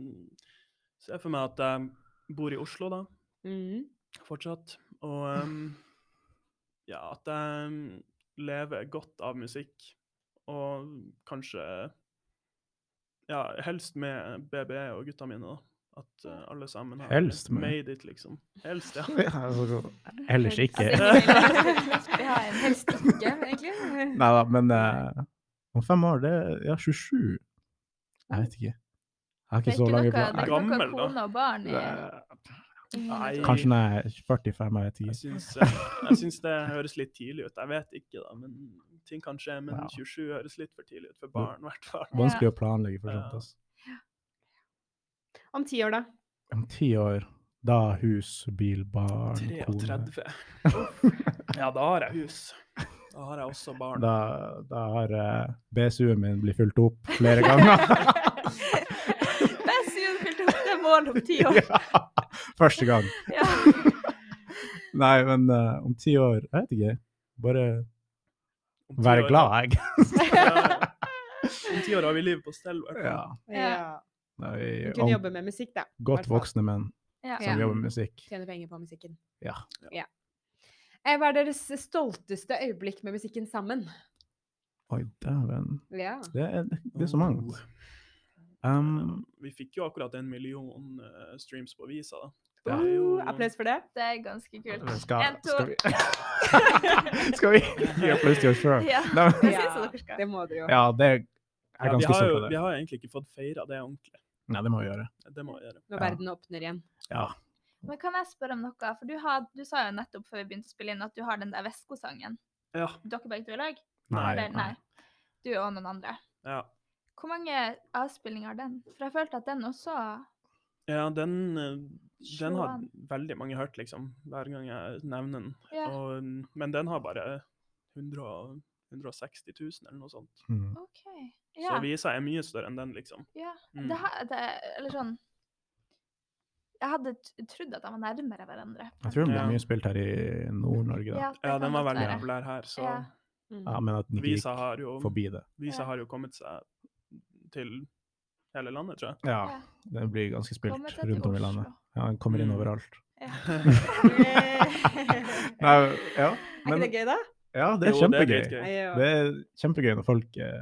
B: ser for meg at jeg bor i Oslo, da.
D: Mm.
B: fortsatt. Og ehm, ja, at jeg ehm, lever godt av musikk. Og kanskje ja, helst med BBE og gutta mine, da. At eh, alle sammen har
C: Helst med?
B: made it, liksom. Helst, ja.
C: ja, altså, ellers ikke.
A: Altså, ikke- vi har en helst
D: Ikke, egentlig.
C: Nei da, men eh, om fem år, det er ja, 27. Jeg vet ikke. Jeg har
A: Det er ikke
C: ikke så
A: noe- Det er ikke noe
C: lange planer.
B: Gammel, da.
A: kone og barn i
B: Nei.
A: Ingen-
C: Kanskje når jeg er 45 eller 10.
B: Jeg syns, eh, jeg syns det høres litt tidlig ut. Jeg vet ikke, da, men ting kan skje. Men
C: Ja.
B: 27 høres litt for tidlig ut for barn, i hvert fall.
C: Vanskelig å planlegge for
B: Ja.
C: sånt. ass.
D: Om ti år, da?
C: Om ti år, da hus, bil, barn, kone.
B: 33. Ja, da har jeg hus. Da har jeg også barn.
C: Da, da har eh, BSU-en min blitt fulgt opp flere ganger.
A: Best julefylt opp det er mål om ti år.
C: ja. Første gang.
A: Ja.
C: Nei, men eh, om ti år, jeg vet ikke. Bare
B: Om ti
C: være
B: år-
C: glad, jeg.
B: Ja. Om ti år har vi livet på stell. i hvert fall.
C: ja.
A: Ja.
C: Nei, vi
D: Du
C: er
D: kunne
C: ung-
D: jobbe med musikk, da. i hvert
C: godt
D: fall.
C: voksne menn
A: Ja.
C: som jobber med musikk.
D: Tjene penger på musikken.
C: Ja.
D: Eh, Hva er deres stolteste øyeblikk med musikken sammen?
C: Oi, dæven.
D: Ja.
C: Det er, det er så mangt.
B: Um,
C: Um,
B: vi fikk jo akkurat en million eh, streams på visa. da. Det er jo-
D: Uh, applaus for det.
A: Det er ganske kult.
C: skal,
A: En, to.
C: skal vi Skal vi gi applaus til oss sjøl?
A: Ja.
C: Nei,
A: Jeg synes at dere skal.
D: Det må dere jo.
C: Ja, det er jeg er
B: Ja, vi,
C: ganske
B: har
C: stolt
B: jo,
C: av
B: vi
C: det.
B: har egentlig ikke fått feira det ordentlig.
C: Nei, det må vi gjøre.
B: Det må vi gjøre.
D: Når
C: Ja.
D: verden åpner igjen.
C: Ja.
A: Men kan jeg spørre om noe? For du, har, du sa jo nettopp før vi begynte å spille inn at du har den der Vesko-sangen.
B: Ja.
A: Dere begge to i lag?
C: Nei.
A: Eller, nei. Du og noen andre.
B: ja.
A: Hvor mange avspillinger har den? For jeg følte at den også
B: ja den, eh, den har
A: Sjoan.
B: veldig mange hørt, liksom, hver gang jeg nevner den.
A: Ja,
B: Og, mm, men den har bare 100, og- 160 000 eller noe sånt.
C: Mm.
A: OK. Ja.
B: Så visa er mye større enn den, liksom.
A: ja.
B: Mm.
A: Det, her- det, eller sånn Jeg hadde t- trodd at de var nærmere hverandre.
C: Jeg tror det blir
B: Ja.
C: mye spilt her i Nord-Norge, da.
A: det
B: Ja,
A: kan
B: den var
A: godt
B: veldig
A: være.
B: populær her, så
A: Ja.
D: Mm.
C: Ja, men at den
B: visa
C: ikke
B: har jo
C: gikk forbi det.
B: Visa
A: Ja.
B: har jo kommet seg til hele landet, tror jeg.
C: Ja,
A: Ja.
C: den blir ganske
A: Kommer
C: spilt
A: seg til
C: rundt om i landet.
A: Oslo.
C: Ja, den kommer inn
B: Mm.
C: overalt.
D: Eh,
C: Nei, ja,
D: Er ikke
C: men,
D: det gøy, da?
C: ja, det er
B: Jo,
C: kjempegøy.
B: dritgøy.
D: Nei, ja.
C: Det er kjempegøy når folk eh,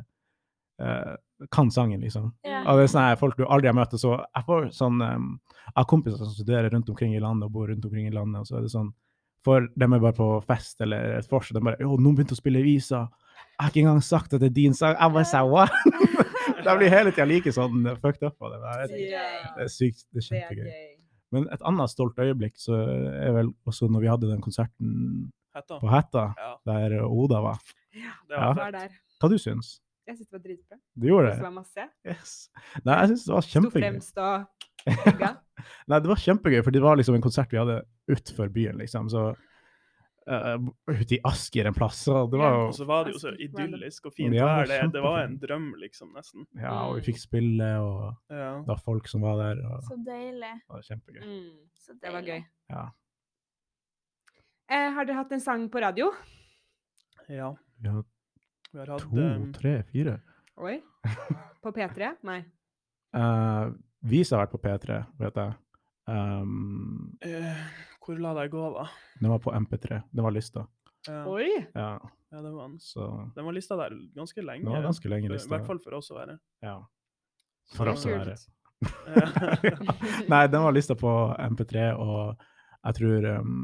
C: eh, kan sangen, liksom.
A: Ja.
C: Og det er sånne her folk du aldri har møtt. og Så jeg får sånn um, Jeg har kompiser som studerer rundt omkring i landet og bor rundt omkring i landet, og så er det sånn For dem er bare på fest eller et vors, og de bare 'Å, noen begynte å spille visa'. Jeg har ikke engang sagt at det er din sang. Jeg bare sa what? De blir hele tida like sånn fucked up av det. men jeg vet ikke.
D: Ja,
C: Det er sykt. Det er
D: Det er
C: kjempegøy.
D: gøy.
C: Men et annet stolt øyeblikk så er vel også når vi hadde den konserten
B: Hetta.
C: på Hætta,
B: Ja,
C: der Oda var.
B: det
C: Ja.
B: var
D: Hva er
B: fett.
D: der?
C: Hva du syns
D: Jeg synes det var dritbra.
C: Du gjorde
D: Det
C: det?
D: var masse.
C: Yes. Nei, jeg syns det var
D: Sto
C: kjempegøy.
D: fremst og digga.
C: Nei, det var kjempegøy, for det var liksom en konsert vi hadde utenfor byen, liksom. Så eh, ute i Asker en plass. Så det var
B: Og
C: jo
B: så var det jo så
D: Asker, random.
B: idyllisk og fint
C: Ja,
B: vær. Det, det var
C: kjempefint.
B: en drøm, liksom, nesten.
C: Ja, og vi fikk spille, og
B: Ja.
C: det var folk som var der, og
A: Så deilig.
C: det var kjempegøy.
D: Mm,
A: Så deilig.
D: det var gøy.
C: Ja.
D: Eh, har dere hatt en sang på radio?
B: ja.
C: Vi hadde
B: Vi har hatt
C: to,
B: um,
C: tre, fire.
D: Oi. På P3? Nei.
C: Uh, Visa har vært på P3, vet jeg. Um,
B: eh, Hvor la deg gå, da?
C: den var på MP3. Den var lista.
B: Ja,
D: Oi!
C: Ja,
B: ja den, var,
C: så
B: den var lista der ganske lenge.
C: den var ganske lenge
B: For- I
C: lista.
B: hvert fall for oss å være.
C: Ja. For
D: Det er
C: oss å være.
D: kult.
C: Nei, den var lista på MP3, og jeg tror um,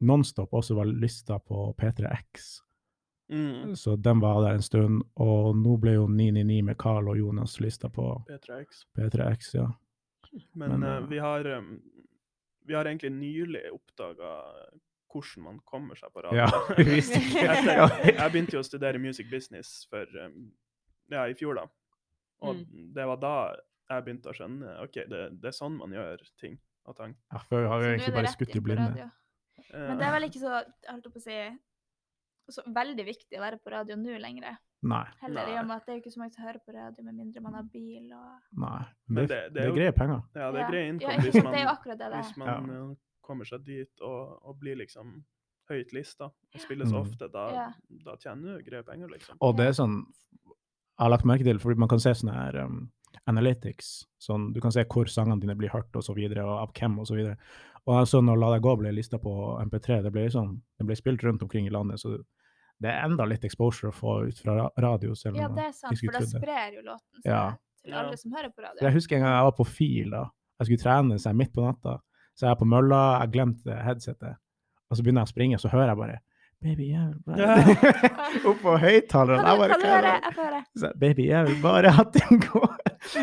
C: Nonstop også var lista på P3X.
B: Mm.
C: Så den var der en stund, og nå ble jo 999 med Carl og Jonas lista på
B: P3X.
C: P3X, ja.
B: Men
C: Men,
B: eh,
C: eh,
B: vi har em, Vi har egentlig nylig oppdaga hvordan man kommer seg på radio.
C: Ja, vi visste ikke.
B: Etter,
C: Ja.
B: jeg begynte jo å studere music business for em, Ja, i fjor, da. Og
A: Mm.
B: det var da jeg begynte å skjønne OK, det, det er sånn man gjør ting og tang.
C: Ja, før
A: Så
C: har
A: nå
C: vi
A: er
C: egentlig
A: det
C: bare
A: rett
C: skutt
A: inn
C: i
A: på
C: blinde.
A: radio. Men det er
B: Eh,
A: vel ikke så, jeg holdt på å si, så veldig viktig å være på radio nå lenger.
C: Nei,
A: Heller i
B: Nei.
A: og med at det er jo ikke så mange som hører på radio, med mindre man har bil og
C: nei.
B: Men
C: Men
B: det-
C: det,
B: det er
C: det er
B: jo-
C: greie penger.
B: Eh, Ja, det er grei innkom
A: Ja,
B: hvis
A: det
B: man,
A: er jo akkurat det det
B: hvis
A: er.
B: man eh, kommer seg dit og, og blir liksom høyt lista og spilles
C: Mm.
B: ofte. Da,
A: Ja.
B: da tjener du greie penger, liksom.
C: Og det er sånn Jeg har lagt merke til, fordi man kan se sånne her um, analytics. Sånn, du kan se hvor sangene dine blir hørt, og så videre, og av hvem, og så videre. Og jeg så når La deg gå ble lista på MP3, det ble, sånn, det ble spilt rundt omkring i landet, så det er enda litt exposure å få ut fra ra- radio. Selv om
A: Ja,
C: man-
A: det er sant, for da
C: Diskutere.
A: sprer jo låten seg
C: Ja.
A: til
B: Ja.
A: alle som hører på radio.
C: For Jeg husker en gang jeg var på fil, da. Jeg skulle trene seg midt på natta. Så jeg er på mølla, jeg glemte headsetet. Og så begynner jeg å springe, så hører jeg bare Baby, jeg vil bare Opp på høyttaleren.
A: Kan
C: Jeg
A: du,
C: bare
A: kan du
C: «Hva er
A: høre?
C: det?»
A: Jeg får høre.
C: Så jeg, Baby, jeg vil bare at den går.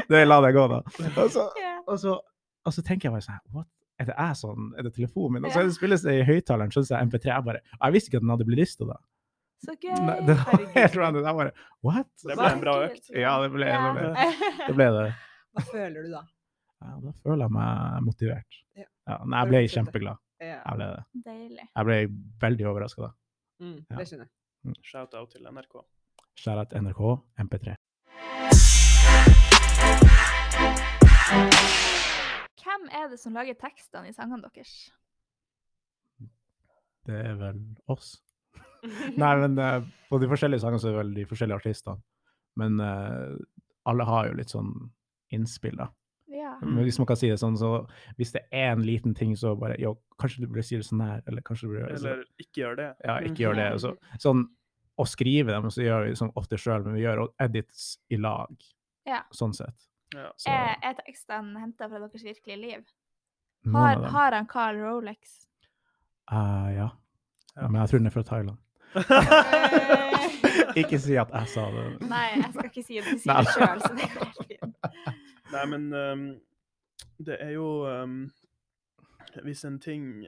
C: Det la det gå, da. Og så,
A: Ja.
C: og så, og så tenker jeg bare sånn What? Er det jeg sånn? Er det telefonen min? Og så spilles det i høyttaleren, så jeg MP3. Jeg bare "Ah, Jeg visste ikke at den hadde blitt lista da.
A: Så
C: Nei, Det
A: gøy!
C: var helt random. Jeg bare What?
B: Det ble en bra
A: Herregud.
B: økt.
C: Ja, det ble, det ble,
D: Hva
C: det ble det.
D: føler du da?
C: Ja, da føler jeg meg motivert.
D: Ja.
C: Ja, nei,
D: Da
C: jeg ble
D: vil du fortsette.
C: kjempeglad.
D: Ja.
C: Jeg ble, det.
A: Deilig.
C: jeg ble veldig overraska da.
D: Mm,
C: Ja.
D: det skjønner jeg.
B: Shout-out til NRK.
C: Skjæra til NRK MP3.
A: Hvem er det som lager tekstene i sangene deres?
C: Det er vel oss. Nei, men eh, på de forskjellige sangene så er det vel de forskjellige artistene. Men eh, alle har jo litt sånn innspill, da.
A: Ja.
B: Mm.
C: Men Hvis man kan si det sånn, så hvis det er en liten ting, så bare Jo, kanskje du burde si det sånn her, eller kanskje du burde gjøre det sånn.
B: Eller ikke gjør det. Mm.
C: Ja, ikke gjør det. og så- sånn å skrive dem, så gjør vi sånn ofte sjøl, men vi gjør og- edits i lag,
A: Ja. Eh,
C: sånn sett.
B: Ja.
C: Så,
A: Er, er tekstene henta fra deres virkelige liv?
C: noen av
A: Har,
C: dem-
A: har han Carl Rolex?
C: Eh, ja.
B: Ja.
C: ja. Men jeg tror den er fra Thailand. Ikke si at jeg sa det.
A: Nei, jeg skal ikke si det. Du sier
C: Nei.
A: det sjøl, så det går helt fint.
B: Nei, men ehm, det er jo ehm, Hvis en ting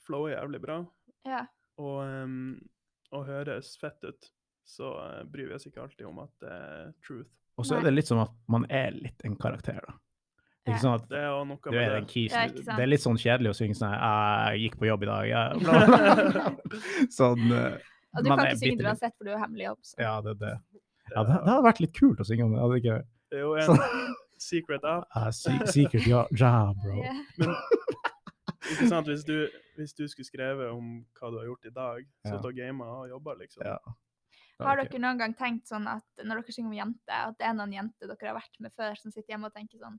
B: flower jævlig bra,
A: Ja.
B: og, ehm, og høres fett ut, så eh, bryr vi oss ikke alltid om at det er truth.
C: Og så er det litt som at man er litt en karakter, da. Det er Ikke
A: Ja.
C: sånn at
B: Det er jo noe
C: du
B: med
C: er
B: det.
C: en kis.
A: Ja, ikke sant.
C: det er litt sånn kjedelig å synge sånn her, Jeg gikk på jobb i dag, ja. Bla, bla, bla. Sånn eh,
A: Og du
C: man
A: kan
C: er
A: ikke synge det
C: bitte litt-
A: uansett, for du har hemmelig jobb. Så.
C: Ja, det er det. Ja, det, det hadde vært litt kult å synge om det. hadde det ikke vært?
B: Det er jo en
C: Sånn,
B: secret app.
C: ah, se- secret ja, ja, bro.
A: Ja.
B: Ikke sant? Hvis du, hvis du skulle skrevet om hva du har gjort i dag,
C: Ja.
B: sittet og gama og jobba, liksom.
C: Ja.
A: Har dere noen gang tenkt sånn at når dere synger om jenter, at det er noen jenter dere har vært med før, som sitter hjemme og tenker sånn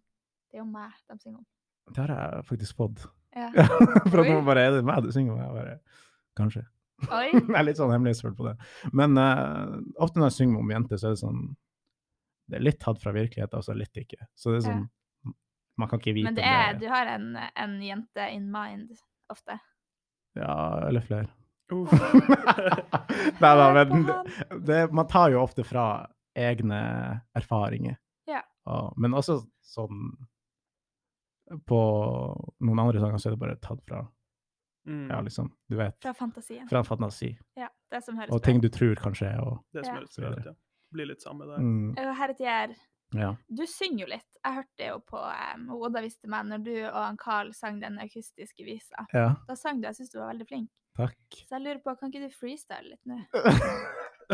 A: Det er jo meg de synger om.
C: Det har jeg faktisk fått.
A: Ja.
C: For at
A: Oi.
C: man bare Er det meg du synger om? Jeg bare Kanskje.
A: Oi.
C: Jeg er litt sånn hemmelighetsfull på det. Men eh, ofte når jeg synger om jenter, så er det sånn Det er litt tatt fra virkeligheten, og så litt ikke. Så det er
A: Ja.
C: sånn Man kan ikke vite
A: Men det
C: om
A: er, du har en, en jente in mind ofte.
C: Ja, eller flere.
B: Uff.
C: Nei da,
A: Hør på
C: men
A: han.
C: det, Man tar jo ofte fra egne erfaringer.
A: Ja.
C: Og, men også sånn På noen andre sanger så er det bare tatt fra,
B: Mm,
C: ja, liksom, du vet,
A: Fra fantasien.
C: fra en fantasi.
A: Ja, det som høres
C: Og ting du tror kanskje er og
B: Det som
A: Ja.
B: er litt sprøtt, ja. Blir litt samme der.
C: mm,
A: Og Herre Tier,
C: Ja.
A: du synger jo litt. Jeg hørte det jo på um, Oda visste meg når du og han Carl sang den akustiske visa.
C: ja.
A: Da sang du, jeg syns du var veldig flink.
C: Takk.
A: Så jeg lurer på, kan ikke du freestyle litt nå?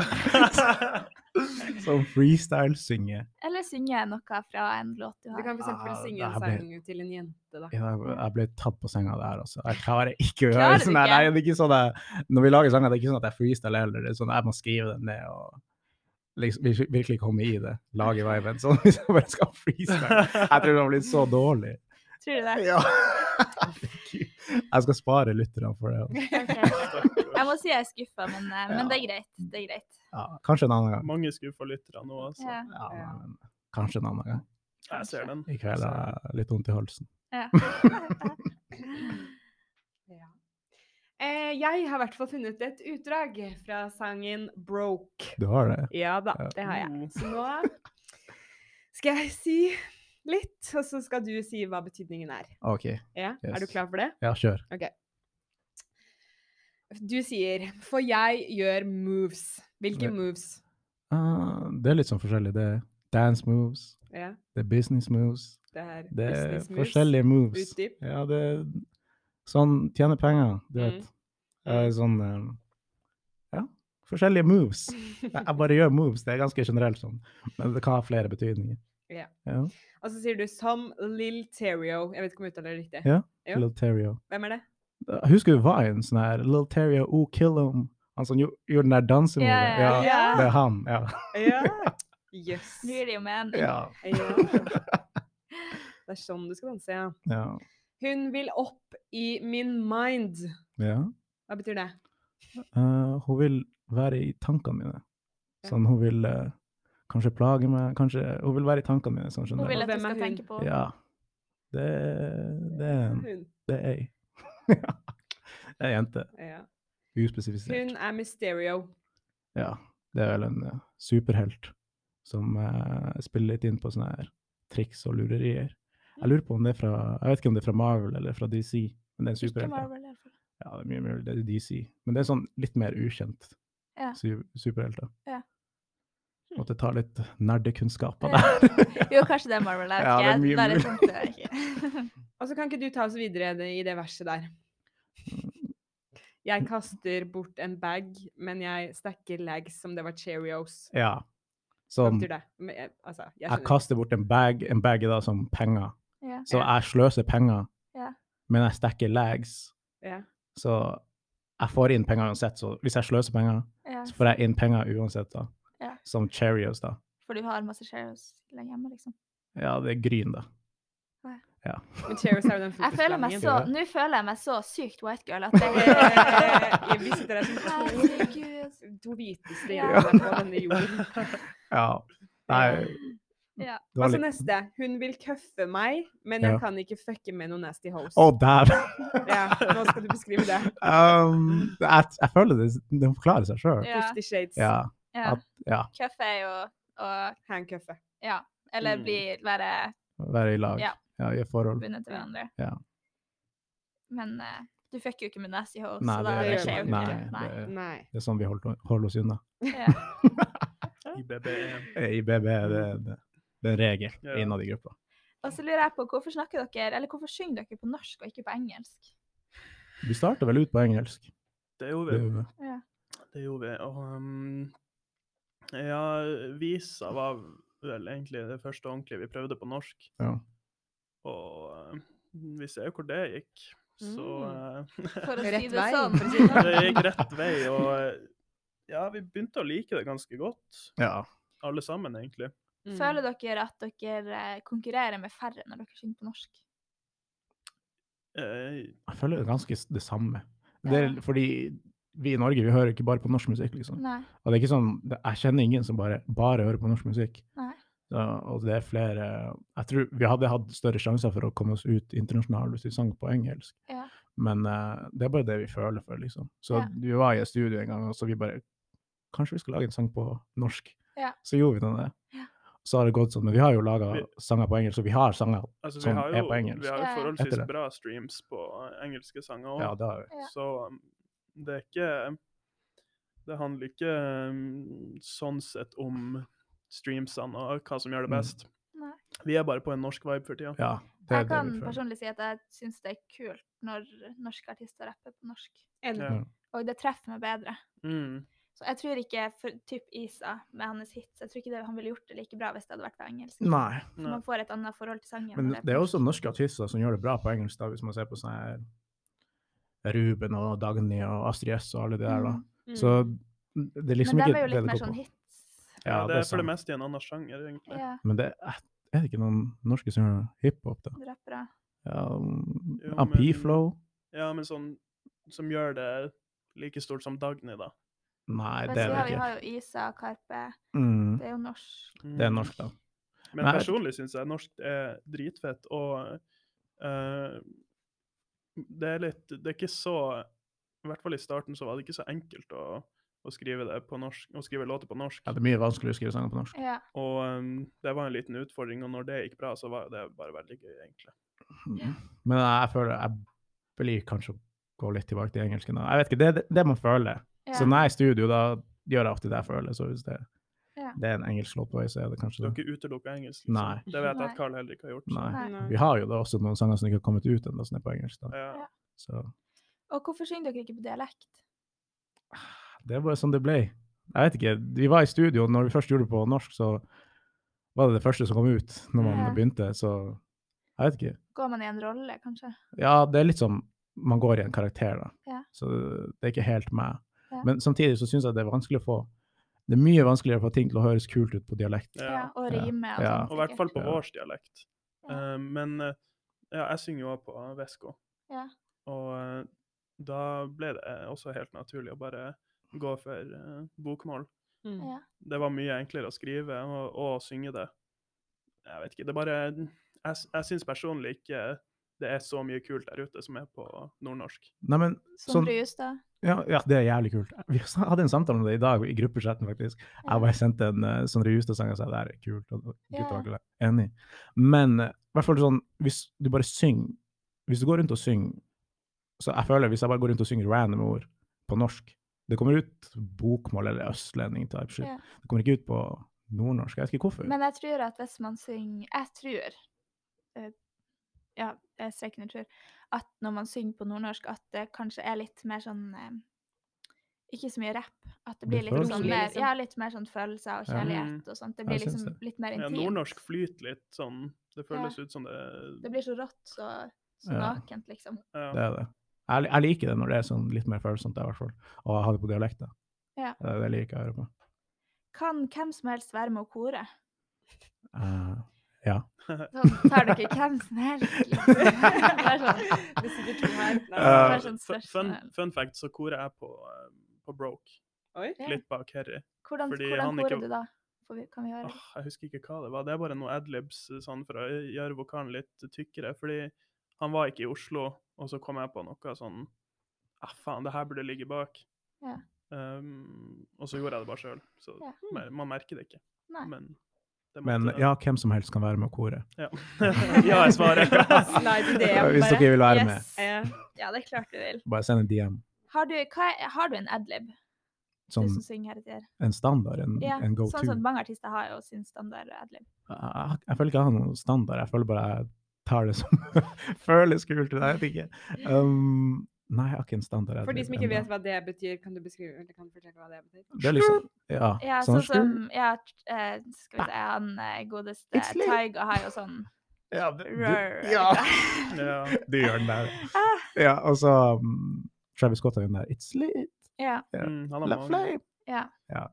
C: Som freestyle-synge.
A: Eller synge noe fra en låt du
D: Du
A: har?
D: kan for eksempel
C: Ah,
D: synge en
C: det her
D: sang til en jente, da.
C: Jeg, jeg ble tatt på senga der, altså. Jeg klarer ikke å
A: Klarer
C: gjøre
A: du
C: sånn. her.
A: ikke?
C: Nei, det er ikke sånn jeg, når vi lager sanger, det er ikke sånn at jeg freestyler heller. Det er sånn at jeg må skrive den ned og liksom, vir- virkelig komme i det. Lage viben. Sånn hvis jeg bare skal freestyle. Jeg tror det har blitt så dårlig.
A: Tror du det?
C: Ja. Herregud. Jeg skal spare lytterne for det. altså.
A: Ok. Jeg
B: Stakkars.
A: må si jeg er skuffa, men, eh, men
C: Ja.
A: det er greit. Det er greit.
C: Ja, kanskje en annen gang.
B: Mange skuffa lyttere nå, altså.
A: Ja.
C: Ja, nei, men kanskje en annen gang.
B: Jeg ser den.
C: I kveld har jeg litt vondt i halsen.
A: Ja.
D: Ja. Eh, jeg har i hvert fall funnet et utdrag fra sangen 'Broke'.
C: Du har det?
D: Ja da,
C: Ja.
D: det har jeg.
B: Mm.
D: Så nå skal jeg si litt, og så skal du si hva betydningen er.
C: OK.
D: Ja, Er du
C: Yes.
D: klar for det?
C: Ja, kjør.
D: Du sier 'for jeg gjør moves'. Hvilke
C: Ja.
D: moves?
C: Ah, det er litt sånn forskjellig. Det er dance moves,
D: Ja,
C: det er business moves,
D: det er
C: det er
D: business moves.
C: forskjellige moves.
D: Utdyp.
C: Ja, det er sånn tjene penger, du
D: Mm.
C: vet. Eh, Sånn eh, Ja, forskjellige moves. Jeg jeg bare gjør moves, det er ganske generelt sånn. Men det kan ha flere betydninger.
D: Ja.
C: ja.
D: Og så sier du 'som Lil Terrio'. Jeg vet ikke om jeg uttaler det riktig.
C: Ja.
D: Ja.
C: Lil Terrio.
D: Hvem er det?
C: Jeg Husker du Vine? Sånn her Lil Terrio, oh, kill him. Han som gjo- gjorde den der dansen
A: Ja, ja,
C: Ja,
D: ja.
C: det er han. Ja.
D: Ja. Jøss.
A: Nå er det jo med en.
C: ja.
D: Ja. Det er sånn du skal danse, ja.
C: ja.
D: Hun vil opp i min mind.
C: ja.
D: Hva betyr det?
C: Eh, hun vil være i tankene mine.
D: Ja.
C: Sånn, hun vil eh, kanskje plage meg, kanskje Hun vil være i tankene mine, sånn
A: Hun
C: generelt.
A: vil at
D: Hvem
A: du
D: er
A: skal
D: hun?
A: tenke på
C: Ja. Det, det, er-
D: Hun.
C: det er ei. Ja. Det er ei jente.
D: Ja.
C: Uspesifisert.
D: Hun er Mysterio.
C: Ja. Det er vel en eh, superhelt som eh, spiller litt inn på sånne her triks og lurerier. Jeg lurer på om det er fra Jeg vet ikke om det er fra Marvel eller fra DC, men det er en
A: Ikke
C: superhelt. da.
A: Marvel, i hvert fall.
C: Ja, det er mye mulig. Det er DC. Men det er sånn litt mer ukjent
A: Ja.
C: su- superhelter.
A: Ja.
C: Måtte ta litt nerdekunnskaper der.
A: Jo, kanskje det er Marvel. Jeg
C: Ja, det er
A: vet
C: mye
A: ikke. Der er
C: mulig.
A: tungt, det er ikke.
D: Og så kan ikke du ta oss videre det- i det verset der. Jeg kaster bort en bag, men jeg stacker lags som det var Cheerios.
C: ja. Sånn,
D: Hva
C: Som
D: betyr det? Men jeg- Altså, jeg
C: jeg
D: skjønner.
C: kaster bort en bag, en bag er da som penger.
A: Ja.
C: Så
D: Ja.
C: jeg sløser penger,
A: Ja.
C: men jeg stacker legs.
D: Ja.
C: Så jeg får inn penger uansett. Så hvis jeg sløser penger,
A: Ja.
C: så får jeg inn penger uansett, da.
A: Ja.
C: Som Cheerios, da.
A: For du har masse shares hjemme, liksom.
C: Ja, det er gryn, da.
D: Men Cheerios er jo den
A: Jeg føler meg så,
C: Ja.
A: nå føler jeg meg så sykt white girl at det
D: Eh,
A: er
D: Jeg visste dere som to
A: Herregud.
D: to hviteste
A: Ja.
D: jentene på denne jorden.
C: Ja. Nei.
A: Ja.
C: Det
D: Og
C: var
D: så
C: litt
D: neste. Hun vil køffe meg, men jeg
C: Ja.
D: kan ikke fucke med noen nasty hoes.
C: Å, dæven!
D: Ja, nå skal du beskrive det.
C: Um, jeg, jeg føler det, det forklarer seg sjøl.
A: Ja.
D: Fifty Shades.
C: Ja.
A: Ja.
C: ja.
A: Cuff er jo å
D: Handcuffet.
A: Ja. Eller
B: Mm.
A: bli, være
C: Være i lag.
A: Ja.
C: Ja. I forhold.
A: bundet til hverandre.
C: Ja.
A: Men eh, du fucker jo ikke med nasty hoes,
C: Nei,
A: så da
C: det,
D: det
A: det
D: gjør
A: skjer jo
D: man
A: ikke.
C: nei,
A: Nei.
C: det-
D: Nei.
C: Det er sånn vi holder, holder oss unna.
A: Ja.
B: IBBE.
C: I E. BB er det, det, det er en regel
B: Ja.
C: innad i gruppa.
A: Og så lurer jeg på hvorfor snakker dere, eller hvorfor synger dere på norsk og ikke på engelsk?
C: Vi starter vel ut på engelsk.
B: Det gjorde
C: Det
B: vi.
C: gjør vi.
B: Det gjorde vi. Og ehm, ja, visa var vel egentlig det første ordentlige vi prøvde på norsk.
C: Ja.
B: Og eh, vi ser jo hvor det gikk. Så
A: Mm.
B: eh,
A: For å
D: Rett
A: si det
D: vei,
A: sånn.
D: for å si det sånn.
B: det gikk rett vei. Og eh, ja, vi begynte å like det ganske godt,
C: ja.
B: alle sammen, egentlig.
D: Mm.
A: Føler dere at dere eh, konkurrerer med færre når dere synger på norsk?
B: Eh,
C: Jeg føler det er ganske s- det samme. Det er fordi vi i Norge vi hører ikke bare på norsk musikk, liksom.
A: Nei.
C: Og det er ikke sånn, det- jeg kjenner ingen som bare, bare hører på norsk musikk.
A: Nei.
C: Ja, og det er flere Jeg tror vi hadde hatt større sjanser for å komme oss ut internasjonalt hvis vi sang på engelsk.
A: Ja.
C: Men eh, det er bare det vi føler for, liksom. Så
A: Ja.
C: vi var i et studio en gang, og så vi bare Kanskje vi skal lage en sang på norsk?
A: Ja.
C: Så gjorde vi nå det.
A: Ja.
C: Så har det gått sånn. Men vi har jo laga
B: Vi-
C: sanger på engelsk, og vi har sanger.
B: altså, vi
C: Som
B: har
C: Sånn er
B: jo,
C: på engelsk.
B: vi har
A: Ja,
B: jo
A: ja.
C: Etter
B: forholdsvis
C: det.
B: bra streams på eh, engelske sanger òg.
C: Ja, det har vi.
A: Ja.
B: Så um, det er ikke Det handler ikke um, sånn sett om streamsene og hva som gjør det
C: Mm.
B: best.
A: Nei.
B: Vi er bare på en norsk vibe for tida.
C: Ja, det
A: Jeg
C: er det
A: kan
C: vi føler.
A: personlig si at jeg syns det er kult når norske artister rapper på norsk.
D: Enig.
B: Ja.
A: Og det treffer meg bedre.
B: Mm.
A: Så jeg tror ikke for typ Isa med hans hits Jeg tror ikke det, han ville gjort det like bra hvis det hadde vært på engelsk.
C: Nei.
A: For Man får et annet forhold til sangen. Mm.
C: Men
A: når
C: det
A: på
C: er
A: norsk.
C: også norske artister som gjør det bra på engelsk, da, hvis man ser på sånn her Ruben og Dagny og Astrid S og alle de der, da.
A: Mm.
D: Mm.
C: Så det er liksom
A: Men
C: ikke
A: de er jo litt
C: det det
A: mer
C: går
A: sånn
C: på.
A: hits.
C: Ja,
B: det er for det
C: sant.
B: meste i en annen sjanger, egentlig.
A: Ja,
C: Men det er, er det ikke noen norske som gjør hiphop, da?
A: rappere.
C: Ja, um,
B: Jo,
C: ja,
B: men-
C: P-Flow?
B: Ja, men sånn som gjør det like stort som Dagny, da.
C: Nei,
A: Men
C: det
A: så
C: er
A: har
C: det
A: vi
C: ikke.
A: har jo Isa og Karpe.
C: Mm,
A: Det er jo norsk.
B: Mm.
C: det er norsk, da.
B: Men
C: Nei.
B: personlig syns jeg norsk er dritfett, og eh, det er litt Det er ikke så I hvert fall i starten så var det ikke så enkelt å, å skrive det på norsk, å skrive låter på norsk.
C: Ja, det er mye vanskeligere å skrive sanger på norsk.
A: Ja.
B: Og eh, det var en liten utfordring, og når det gikk bra, så var jo det bare veldig gøy, egentlig.
C: Mm. Men jeg føler jeg blir kanskje å gå litt tilbake til engelsken. da. Jeg vet ikke, Det er det, det man føler.
A: Ja.
C: Så når jeg er i studio, da gjør jeg alltid det jeg føler. Så hvis det,
A: Ja.
C: det er en engelsk låt på vei, så er det
B: Du
C: kanskje
B: har
C: det.
B: ikke utelukka engelsk? liksom.
C: Nei.
B: Det vet jeg
A: Nei.
B: at Carl heller ikke har gjort. så-
C: Nei.
A: Nei.
D: Nei.
C: Vi har jo da også noen sanger som ikke har kommet ut ennå, som er på engelsk. da.
B: Ja.
A: Ja.
C: Så
A: Og hvorfor synger dere ikke på dialekt?
C: det var sånn det ble. Jeg vet ikke, Vi var i studio, og når vi først gjorde det på norsk, så var det det første som kom ut når man
A: Ja.
C: begynte. Så jeg vet ikke.
A: Går man i en rolle, kanskje?
C: Ja, det er litt som man går i en karakter, da.
A: Ja.
C: Så det er ikke helt meg.
A: Ja.
C: Men samtidig så syns jeg det er vanskelig å få Det er mye vanskeligere å få ting til å høres kult ut på dialekt.
B: Ja.
A: Ja, og rime og
C: Ja.
A: sånn.
B: Og i hvert fall på
C: Ja.
B: vår dialekt.
A: Ja.
B: Eh, men eh, ja, jeg synger jo også på Vesko.
A: Ja.
B: Og eh, da ble det også helt naturlig å bare gå for eh, bokmål.
D: Mm.
A: Ja.
B: Det var mye enklere å skrive og, og synge det. Jeg vet ikke, det er bare Jeg, s- jeg syns personlig ikke det er så mye kult der ute som er på nordnorsk.
C: Nei, men
A: Som
C: Sånn-
A: Brustad.
C: ja, ja, det er jævlig kult. Vi s- hadde en samtale om det i dag i gruppechatten, faktisk. Jeg bare sendte en uh, Sondre Justad-sang og sa det her er kult, og gutta var ikke enig. Men eh, i hvert fall sånn, hvis du bare synger Hvis du går rundt og synger Så jeg føler hvis jeg bare går rundt og synger random ord på norsk Det kommer ut bokmål eller østlending type shit.
A: Ja.
C: Det kommer ikke ut på nordnorsk. Jeg vet ikke hvorfor.
A: Men jeg tror at hvis man synger Jeg tror eh, Ja, jeg streker under tur. At når man synger på nordnorsk, at det kanskje er litt mer sånn eh, Ikke så mye rapp. At det
C: Blir
A: blir litt sånn
D: følelser.
A: mer, ja, litt mer sånn følelser og
C: Ja.
A: kjærlighet og sånt. Det blir
C: Jeg syns
A: liksom litt mer
B: Ja,
A: intimt.
B: nordnorsk flyter litt sånn Det føles ut som det
A: Det blir så rått så, så
C: Ja.
A: nakent, liksom.
B: ja.
C: Det er det. Jeg, li- jeg liker det når det er sånn litt mer følsomt, i hvert fall. Og jeg har det på dialekter.
A: Ja.
C: Det, det liker jeg å høre på.
A: Kan hvem som helst være med å kore?
C: Eh,
A: Sånn tar dere hvem som helst, liksom. Det er sånn,
D: Det er sikkert to her. Nei,
A: Ja.
B: Eh,
A: Det er sånn
B: fun- fun,
A: spørsmål.
B: fun fact, så korer jeg på, eh, på Broke.
D: Oi.
A: Ja.
B: Litt bak Harry.
A: hvordan
B: Fordi han
A: hvordan korer
B: ikke-
A: du da? Får vi, kan vi høre?
B: Åh, jeg husker ikke hva det var. Det er bare noe adlibs eh, sånn, for å gjøre vokalen litt tykkere. Fordi han var ikke i Oslo, og så kom jeg på noe sånn ah, faen, det her burde ligge bak.
A: Ja.
B: Um, og så gjorde jeg det bare sjøl. Så
A: Ja.
B: mer- man merker det ikke.
A: Nei.
B: Men det
C: men
B: måtte-
C: ja, hvem som helst kan være med å kore.
B: Ja, ja jeg svarer.
D: Slide i DM,
C: Hvis dere vil være med,
A: Yes.
D: Eh,
A: Ja, det er klart du vil.
C: bare send en DM.
A: Har du, hva, er- har du en adlib,
C: Som
A: du som synger her i tider?
C: en standard, en,
A: Ja,
C: en go-to.
A: sånn som mange artister har jo sin standard adlib.
C: jeg, jeg, Ah, jeg føler ikke jeg har noen standard, jeg føler bare jeg tar det som føles kult. Jeg vet ikke. Um, nei, jeg har ikke en standard.
D: For de
C: adlib
D: som ikke
C: ennå.
D: vet hva det betyr, kan du beskrive eller kan du fortelle hva det betyr?
C: Det er liksom, ja,
A: Ja,
C: sånn
A: sånn som ja, t- eh, skal vi se, han eh, godeste
C: It's lit.
A: Tyga har jo sånn
C: Ja, det,
A: rør.
C: ja.
B: ja.
C: du gjør den der.
A: Ah.
C: Ja, og så um, Travis Scott har den der It's lit,
A: Ja,
C: Ja.
B: Mm, han har
C: la
B: mange.
C: flame.
A: ja.
C: Ja.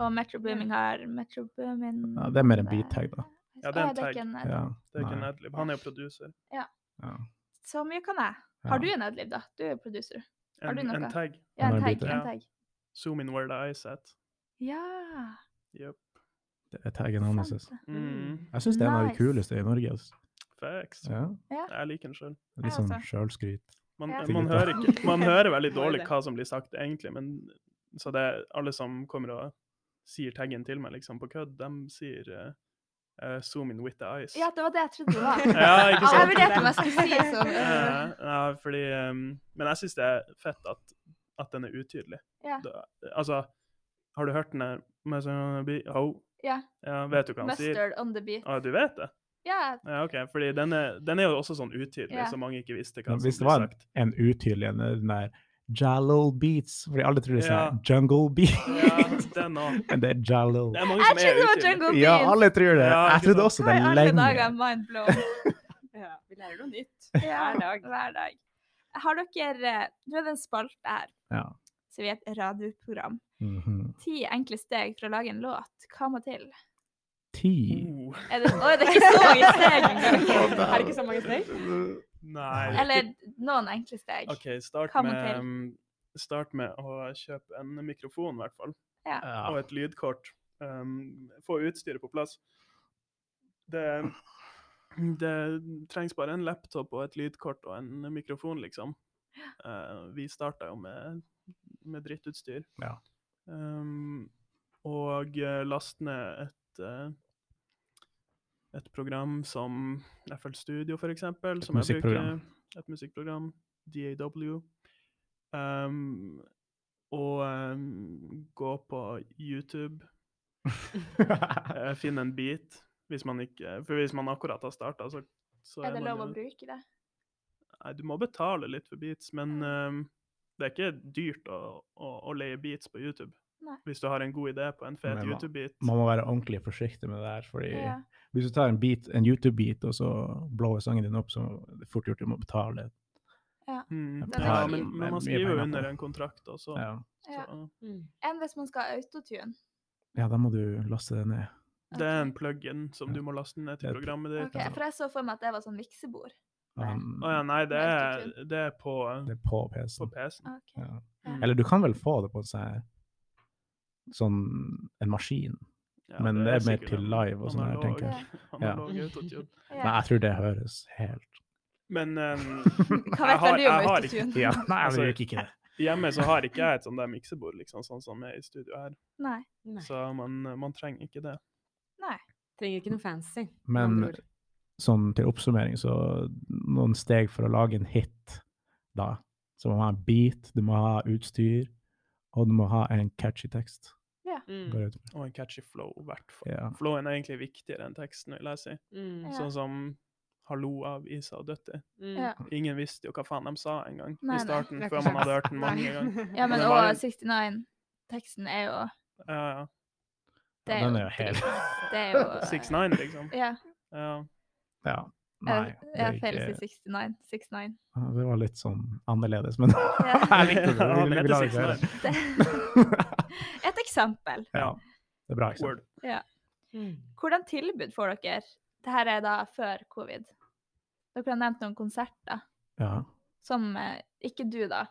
A: Og Metro Booming har Metro Booming eh,
C: Ja, det er mer en beat-tag, da.
B: Ja, det er en
A: Å,
B: tag.
A: en ad-
C: Ja,
B: Det er ikke en
C: nei,
B: adlib. Han er jo producer.
C: ja.
A: Så mye kan jeg. Har du
C: Ja.
A: en adlib, da? Du er producer. Har
B: En,
A: du
B: en
A: noe?
B: tag.
A: Ja,
C: Han
A: en
C: har en
A: tag.
C: beat-tag.
A: En
B: Ja.
A: tag.
B: Zoom in where the eyes at.
A: Ja.
B: Yep.
C: Det er taggen hans.
A: sant
C: ass.
A: det.
B: Mm.
C: Jeg syns det er en av de
A: Nice.
C: kuleste i Norge. ass.
B: Facts.
C: Ja.
B: Jeg liker den sjøl.
A: Ja,
C: Litt sånn
A: altså.
C: sjølskryt.
B: Man,
A: Ja.
B: man,
C: Sikkert,
B: hører
D: da.
B: ikke, man hører veldig
D: Må jo
B: dårlig
D: det.
B: hva som blir sagt, egentlig, men så det er alle som kommer og sier taggen til meg liksom på kødd, de sier eh, eh, 'zoom in with the eyes'.
A: ja, det var det jeg trodde det var.
B: Ja, ikke
A: Jeg
B: sant?
A: vurderte om jeg skulle si sånn.
B: Eh, ja, fordi, ehm, men jeg syns det er fett at, at den er utydelig.
A: Ja.
B: Da- altså, har du hørt den der med sånn bi- ho?
A: Ja.
B: Ja, Vet du hva han sier?
A: Mustard on the beat.
B: Ah, du vet det?
A: Ja,
B: Ja, OK. Fordi den er, den er jo også sånn utydelig,
A: Ja.
B: så mange ikke visste hva som
C: Men
B: ble
C: Hvis det var en,
B: sagt.
C: en utydelig en, den der Jalal Beats Fordi alle tror det er sånn
B: Ja.
C: Jungle Beat,
B: Ja, den òg.
C: men det er Jalal.
B: Det er mange
A: jeg
B: som
A: trodde det
B: er
A: var
B: utydelig.
A: Jungle Beans.
C: Ja, alle tror det.
B: Ja, ikke
C: Jeg trodde
B: sant?
C: også
A: Hva
C: det
A: i alle dager,
C: lenge.
A: mind blown.
D: Ja, vi lærer noe nytt
A: Ja,
D: hver dag.
A: hver dag. Har dere eh, Nå er det en spalte her,
C: Ja.
A: så vi er et radioprogram.
C: Mhm.
A: Ti enkle steg for å lage en låt. Hva må til?
C: Ti.
B: Oh.
A: Er det, Oi, det er ikke så mange steg
D: Er
A: engang!
D: det ikke så mange steg?
B: Nei. det er
A: Eller
B: ikke-
A: noen enkle steg.
B: OK, start
A: Hva må
B: med,
A: til?
B: um, start med å kjøpe en mikrofon, i hvert fall.
C: Ja.
B: Ehm, Og et lydkort. Um, få utstyret på plass. Det, det trengs bare en laptop og et lydkort og en mikrofon, liksom. Eh, vi starta jo med, med drittutstyr.
C: Ja.
B: Ehm, og eh, last ned et, eh, et program som FL Studio, for eksempel.
C: Et
B: som jeg
C: musikkprogram.
B: bruker. Et musikkprogram. DAW. Ehm, og ehm, gå på YouTube, eh, finne en beat. Hvis man ikke, for hvis man akkurat har starta, så, så
A: Er det
B: man
A: lov å
B: jo-
A: bruke det?
B: Nei, du må betale litt for beats, men ehm, det er ikke dyrt å, å, å leie beats på YouTube.
A: Nei.
B: Hvis du har en god idé på en fet
C: Men hva-
B: YouTube-beat.
C: Man må være ordentlig forsiktig med det her, fordi
A: Ja.
C: hvis du tar en, beat- en YouTube-beat, og så blower sangen din opp, så er det fort gjort du må betale.
B: Mm.
A: Den er
B: Ja,
A: fin.
B: men, men
C: Mye
B: man skriver
C: penger
B: jo
C: på
B: under
C: det.
B: en kontrakt også.
C: Ja.
A: Ja.
B: Så,
A: Enn hvis man skal ha autotune?
C: ja, da må du laste det ned.
B: det er
A: Ok.
B: en plug-in som du må laste ned til
C: Det er-
B: programmet
A: Ok,
B: ditt.
C: ja.
A: For jeg så for meg at det var sånn miksebord.
C: Um,
B: Å ja, nei, det er,
A: Autotune.
B: det er på,
C: Det er
B: på
C: på
B: Mm.
C: PC-en.
B: PC-en.
A: Ok.
C: Ja.
A: Ja.
C: Eller du kan vel få det på en sånn, her- sånn en maskin.
B: Ja,
C: men det er mer
B: sikkert
C: til
B: en
C: live og sånne her,
B: analog-
C: tenker
A: jeg.
B: Analog autotune.
A: Ja.
C: Men jeg tror det høres helt
B: Men ehm,
A: Hva vet
B: har-
A: vel du om
B: jeg har
A: autotune?
C: Ja, nei,
B: Altså,
C: det gjør ikke det.
B: hjemme så har ikke jeg et sånt der miksebord, liksom, sånn som er i studio her.
A: Nei.
D: Nei.
B: Så man, man trenger ikke det.
A: Nei.
D: Trenger ikke noe fancy. med
C: Men
D: andre ord.
C: sånn til oppsummering, så noen steg for å lage en hit da. Så man må ha en beat, du må ha utstyr, og du må ha en catchy tekst.
D: Mm.
C: Går jeg ut fra.
B: Og en catchy flow, i hvert fall.
C: Ja.
B: Flowen er egentlig viktigere enn teksten, vil jeg si.
D: Mm.
A: Ja.
B: Sånn som 'Hallo' av Isa og Døtti.
D: Mm.
A: Ja.
B: Ingen visste jo hva faen de sa engang
A: Nei,
B: i
A: nei.
B: starten,
D: Det er
B: før
D: ikke
B: man hadde
D: sjans.
B: hørt den mange ganger.
D: Nei.
A: Ja, men
B: det
A: og
B: var-
A: 69-teksten er jo
B: Ja, ja.
A: Det
C: Ja,
A: er
C: den
A: jo
C: er jo helt
A: Det er jo
B: 6ix9ine, liksom.
A: Ja.
B: Ja.
C: Ja. Nei.
A: Jeg, jeg
C: det,
A: feil å
C: er
A: si
C: ikke,
A: 69. 69.
C: Ja, det var litt sånn annerledes, men
A: Ja.
C: jeg likte det.
B: Ja,
C: Vi,
B: men
C: vi lar det
B: det er
C: være.
B: 6ix9ine.
A: Et eksempel.
C: Ja, det er bra. Ikke sant?
B: Word.
D: Mm.
A: Hvordan tilbud får dere? Dette er da før covid. Dere har nevnt noen konserter.
C: Ja.
A: Som eh, Ikke du, da.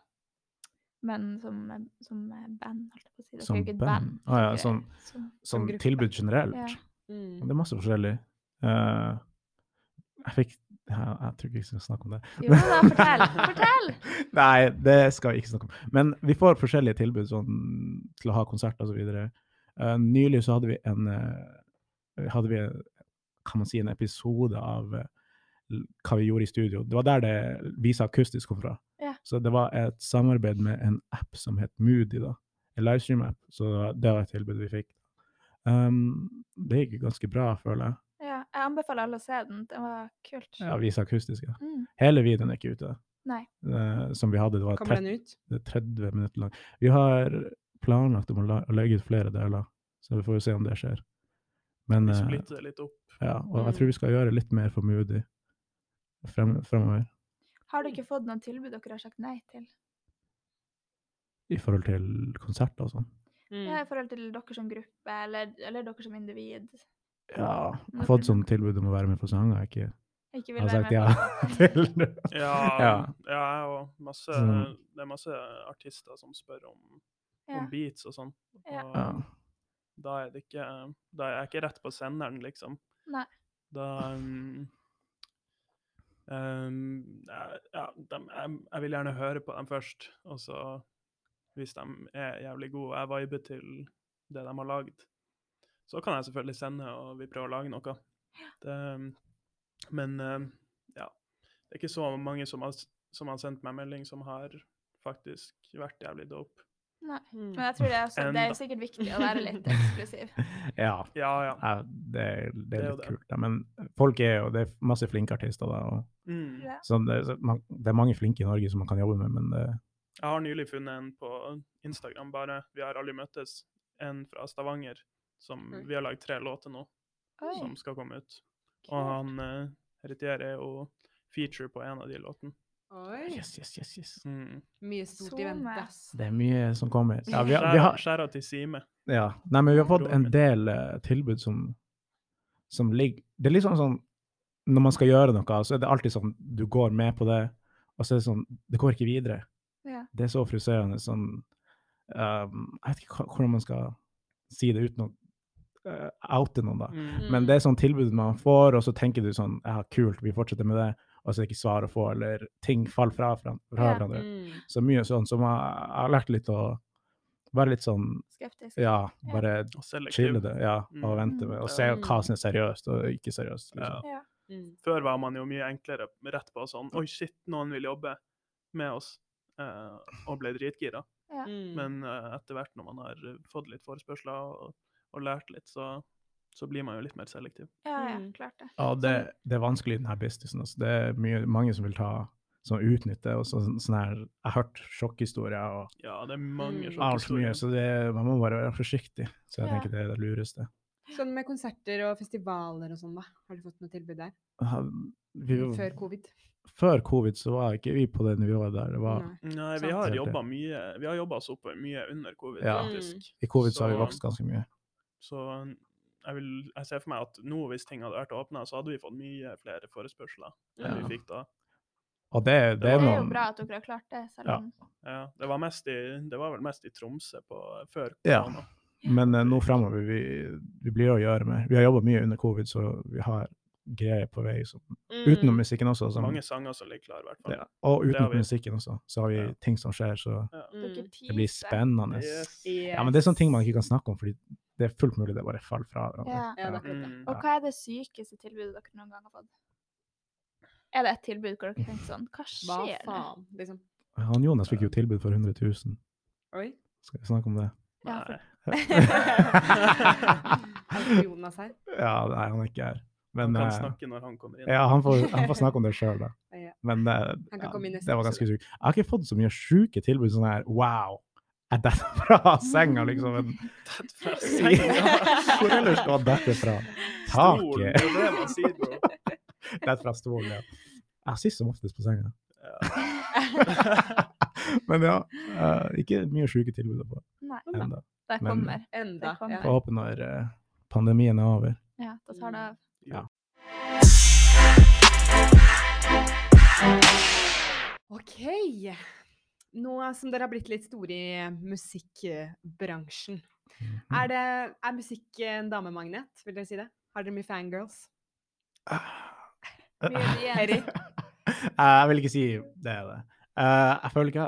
A: Men som, eh, som eh, band, holdt jeg på å si. Dere
C: Som
A: er jo ikke et band.
C: band. Å ja,
A: dere-
C: som-
A: som-
C: Sånn
D: gruppe.
C: tilbud generelt.
A: Ja.
D: Mm.
C: Det er masse forskjellig. Eh, jeg fikk jeg, jeg tror ikke vi skal snakke om det.
A: Jo da, fortell! Fortell!
C: Nei, det skal vi ikke snakke om. Men vi får forskjellige tilbud sånn, til å ha konserter osv. Uh, nylig så hadde vi en eh, hadde vi, kan man si, en episode av eh, l- hva vi gjorde i studio. Det var der det Visa Akustisk kom fra.
A: Ja.
C: Så det var et samarbeid med en app som het Moody, da. En livestream-app. Så det var- det var et tilbud vi fikk. Um, det gikk ganske bra, føler jeg.
A: Ja, jeg anbefaler alle å se den. Det var kult.
C: Ja, Visa Akustisk, ja.
A: Mm.
C: Hele videoen er ikke ute.
A: Nei.
C: Eh, som vi hadde, det var
D: Kommer
C: 30
D: den ut?
C: det er 30 minutter lang. Vi har planlagt om å la- å legge ut flere deler, så vi får jo se om det skjer. Men
B: Vi
C: eh,
B: splitter det litt opp.
C: ja, og jeg tror vi skal gjøre litt mer for Moody frem, fremover.
A: Har dere fått noen tilbud dere har sagt nei til?
C: I forhold til konserter og sånn.
D: Mm.
A: Ja, I forhold til dere som gruppe, eller, eller dere som individ?
C: Ja, jeg har fått sånn tilbud om å være med på sanger jeg ikke
A: Ikke vil
C: har
A: være
C: sagt ja
A: med
C: til.
B: Ja, ja.
C: Ja.
B: jeg og masse,
C: Sånn.
B: det er masse artister som spør om,
A: Ja.
B: om beats og sånn.
A: Ja.
B: Og
C: Ja.
B: da er det ikke eh, Da er jeg ikke rett på senderen, liksom.
A: Nei.
B: Da um, um, jeg- Ja, dem- jeg, jeg vil gjerne høre på dem først, og så Hvis de er jævlig gode, og jeg viber til det de har lagd, så kan jeg selvfølgelig sende, og vi prøver å lage noe. Det, um, men um, ja. Det er ikke så mange som har, s- som har sendt meg melding, som har faktisk vært jævlig dope.
A: Nei.
D: Mm.
A: Men jeg tror det er, også, det er
B: Enda.
A: jo sikkert viktig å være litt eksklusiv.
C: ja.
B: Ja, ja.
C: ja det, er- det
B: er
C: er
B: jo
C: litt
B: det.
C: kult, da. Men folk er jo Det er masse flinke artister, da. Og,
B: Mm.
A: Ja.
C: så det, så man, det er mange flinke i Norge som man kan jobbe med, men det,
B: Jeg har nylig funnet en på Instagram, bare. Vi har aldri møttes. En fra Stavanger. Som
D: Oi.
B: vi har lagd tre låter nå,
A: Oi,
B: som skal komme ut. Og
A: kult.
B: han eh, Heritier er jo feature på en av de låtene.
D: Oi.
C: yes, yes, yes, yes.
B: Mm.
D: Mye stort i
A: Zoom,
D: vente.
A: ja.
D: ass.
C: Det er mye som kommer. Ja, vi har, vi
B: Skjæra
C: har,
B: skjæra til Sime.
C: ja. Nei, men vi har fått en
B: Rolig.
C: del eh, tilbud som, som ligger Det er litt sånn sånn når man skal gjøre noe, så er det alltid sånn du går med på det, og så er det sånn Det går ikke videre.
A: Ja.
C: Det er så ehm, frustrerende. Sånn um, Jeg vet ikke hva- hvordan man skal si det uten å eh, oute noen, da.
B: Mm.
C: Men det er sånn tilbud man får, og så tenker du sånn ja, kult, vi fortsetter med det, og så er det ikke svar å få, eller ting faller fra, fra, fra
A: Ja.
C: hverandre.
D: Mm.
C: Så mye sånn som jeg, jeg har lært litt å være litt sånn
A: Skeptisk.
C: Ja,
A: Ja.
C: bare
B: Og selektiv.
C: chille det, ja, og
B: Mm.
C: vente med, og se
D: Ja.
C: hva som er seriøst og ikke seriøst.
B: Ja.
C: Liksom.
A: Ja.
D: Mm.
B: Før var man jo mye enklere rett på sånn Oi, shit, noen vil jobbe med oss. eh, og ble dritgira.
A: Ja.
D: Mm.
B: Men eh, etter hvert når man har eh, fått litt forespørsler og, og lært litt, så, så blir man jo litt mer selektiv.
A: ja, ja,
D: Mm.
A: klart det.
C: Og det, det er vanskelig i denne businessen. Altså. Det er mye, mange som vil ta som utnytter, og så, sånn her, Jeg har hørt sjokkhistorier og
B: Ja, det er mange
D: Mm.
C: alt for
B: sjokkhistorier.
C: mye, så det, man må bare være forsiktig. Så jeg
A: Ja.
C: tenker det er det lureste.
D: Sånn med konserter og festivaler og sånn, da. Har du fått noe tilbud der?
C: Vi,
D: Mm, Før covid?
C: før covid så var ikke vi på det nivået der. Det var,
D: Nei.
B: Nei, vi
D: Sant.
B: har
C: Det er det.
B: jobba mye Vi har jobba oss opp mye under covid,
C: Ja.
B: faktisk.
C: I covid så har vi
B: Så-
C: vokst ganske mye.
B: Så jeg, vil, jeg ser for meg at nå, hvis ting hadde vært åpna, så hadde vi fått mye flere forespørsler enn
D: Mm.
C: Ja.
B: vi fikk da.
C: Og det, det,
A: Det
C: er
A: er jo
C: noen
A: bra at dere har klart det, selv
C: Ja.
A: om
B: Ja, det var, mest i, det var vel mest i Tromsø på, før
C: Ja.
B: korona.
C: Men eh, nå fremover, vi, vi blir å gjøre mer. Vi har jobba mye under covid, så vi har greier på vei. Som,
D: Mm.
C: utenom musikken også. Som,
B: Mange sanger som ligger klare, i hvert fall.
C: sånn ja, og
B: Det har
C: utenom
B: vi.
C: musikken også, så har vi
B: Ja.
C: ting som skjer, så
A: dere
D: Mm.
A: teaser.
C: det blir spennende.
B: Yes.
C: Ja, men det er sånne ting man ikke kan snakke om, fordi det er fullt mulig det bare faller fra
A: Ja.
D: Ja, det er
C: hverandre.
D: akkurat det.
B: Mm.
A: Og hva er det sykeste tilbudet dere noen gang har fått? Er det et tilbud hvor dere tenker sånn Hva
D: Hva
A: skjer? nå?
D: faen, liksom.
C: Han Jonas fikk jo tilbud for 100 000.
D: Oi.
C: Skal vi snakke om det?
A: Ja,
B: Nei.
D: Altså, Jonas her.
C: Ja, nei, han er ikke her.
B: Han
C: Men
B: kan
C: eh,
B: snakke når han kommer inn.
C: ja, han, får, han får snakke om det sjøl, da.
D: Ja.
C: Men eh,
D: kan
C: ja,
D: komme i neste
C: det var ganske
D: episode.
C: sjukt. Jeg har ikke fått så mye sjuke tilbud sånn her wow, jeg detter fra senga, liksom. Men
B: Tett fra senga.
C: hvor ellers skal man dette fra?
B: Stolen, det
C: Taket.
B: er det man sier, bro.
C: Dette fra stolen, ja. Jeg sitter som oftest på senga.
B: Ja.
C: Men ja, eh, ikke mye sjuke tilbud å få
A: Nei,
C: ennå.
A: det
C: Men-
A: kommer.
D: Enda.
A: Det kom.
C: Får håpe når eh, pandemien er over.
A: Ja, da tar det av.
D: Ok. Nå som dere har blitt litt store i musikkbransjen,
C: Mm.
D: er, det, er musikk en damemagnet, vil dere si det? Har dere mye fangirls?
A: Mye igjen.
D: Erik?
C: Ah, Jeg vil ikke si det er det. Eh, jeg føler ikke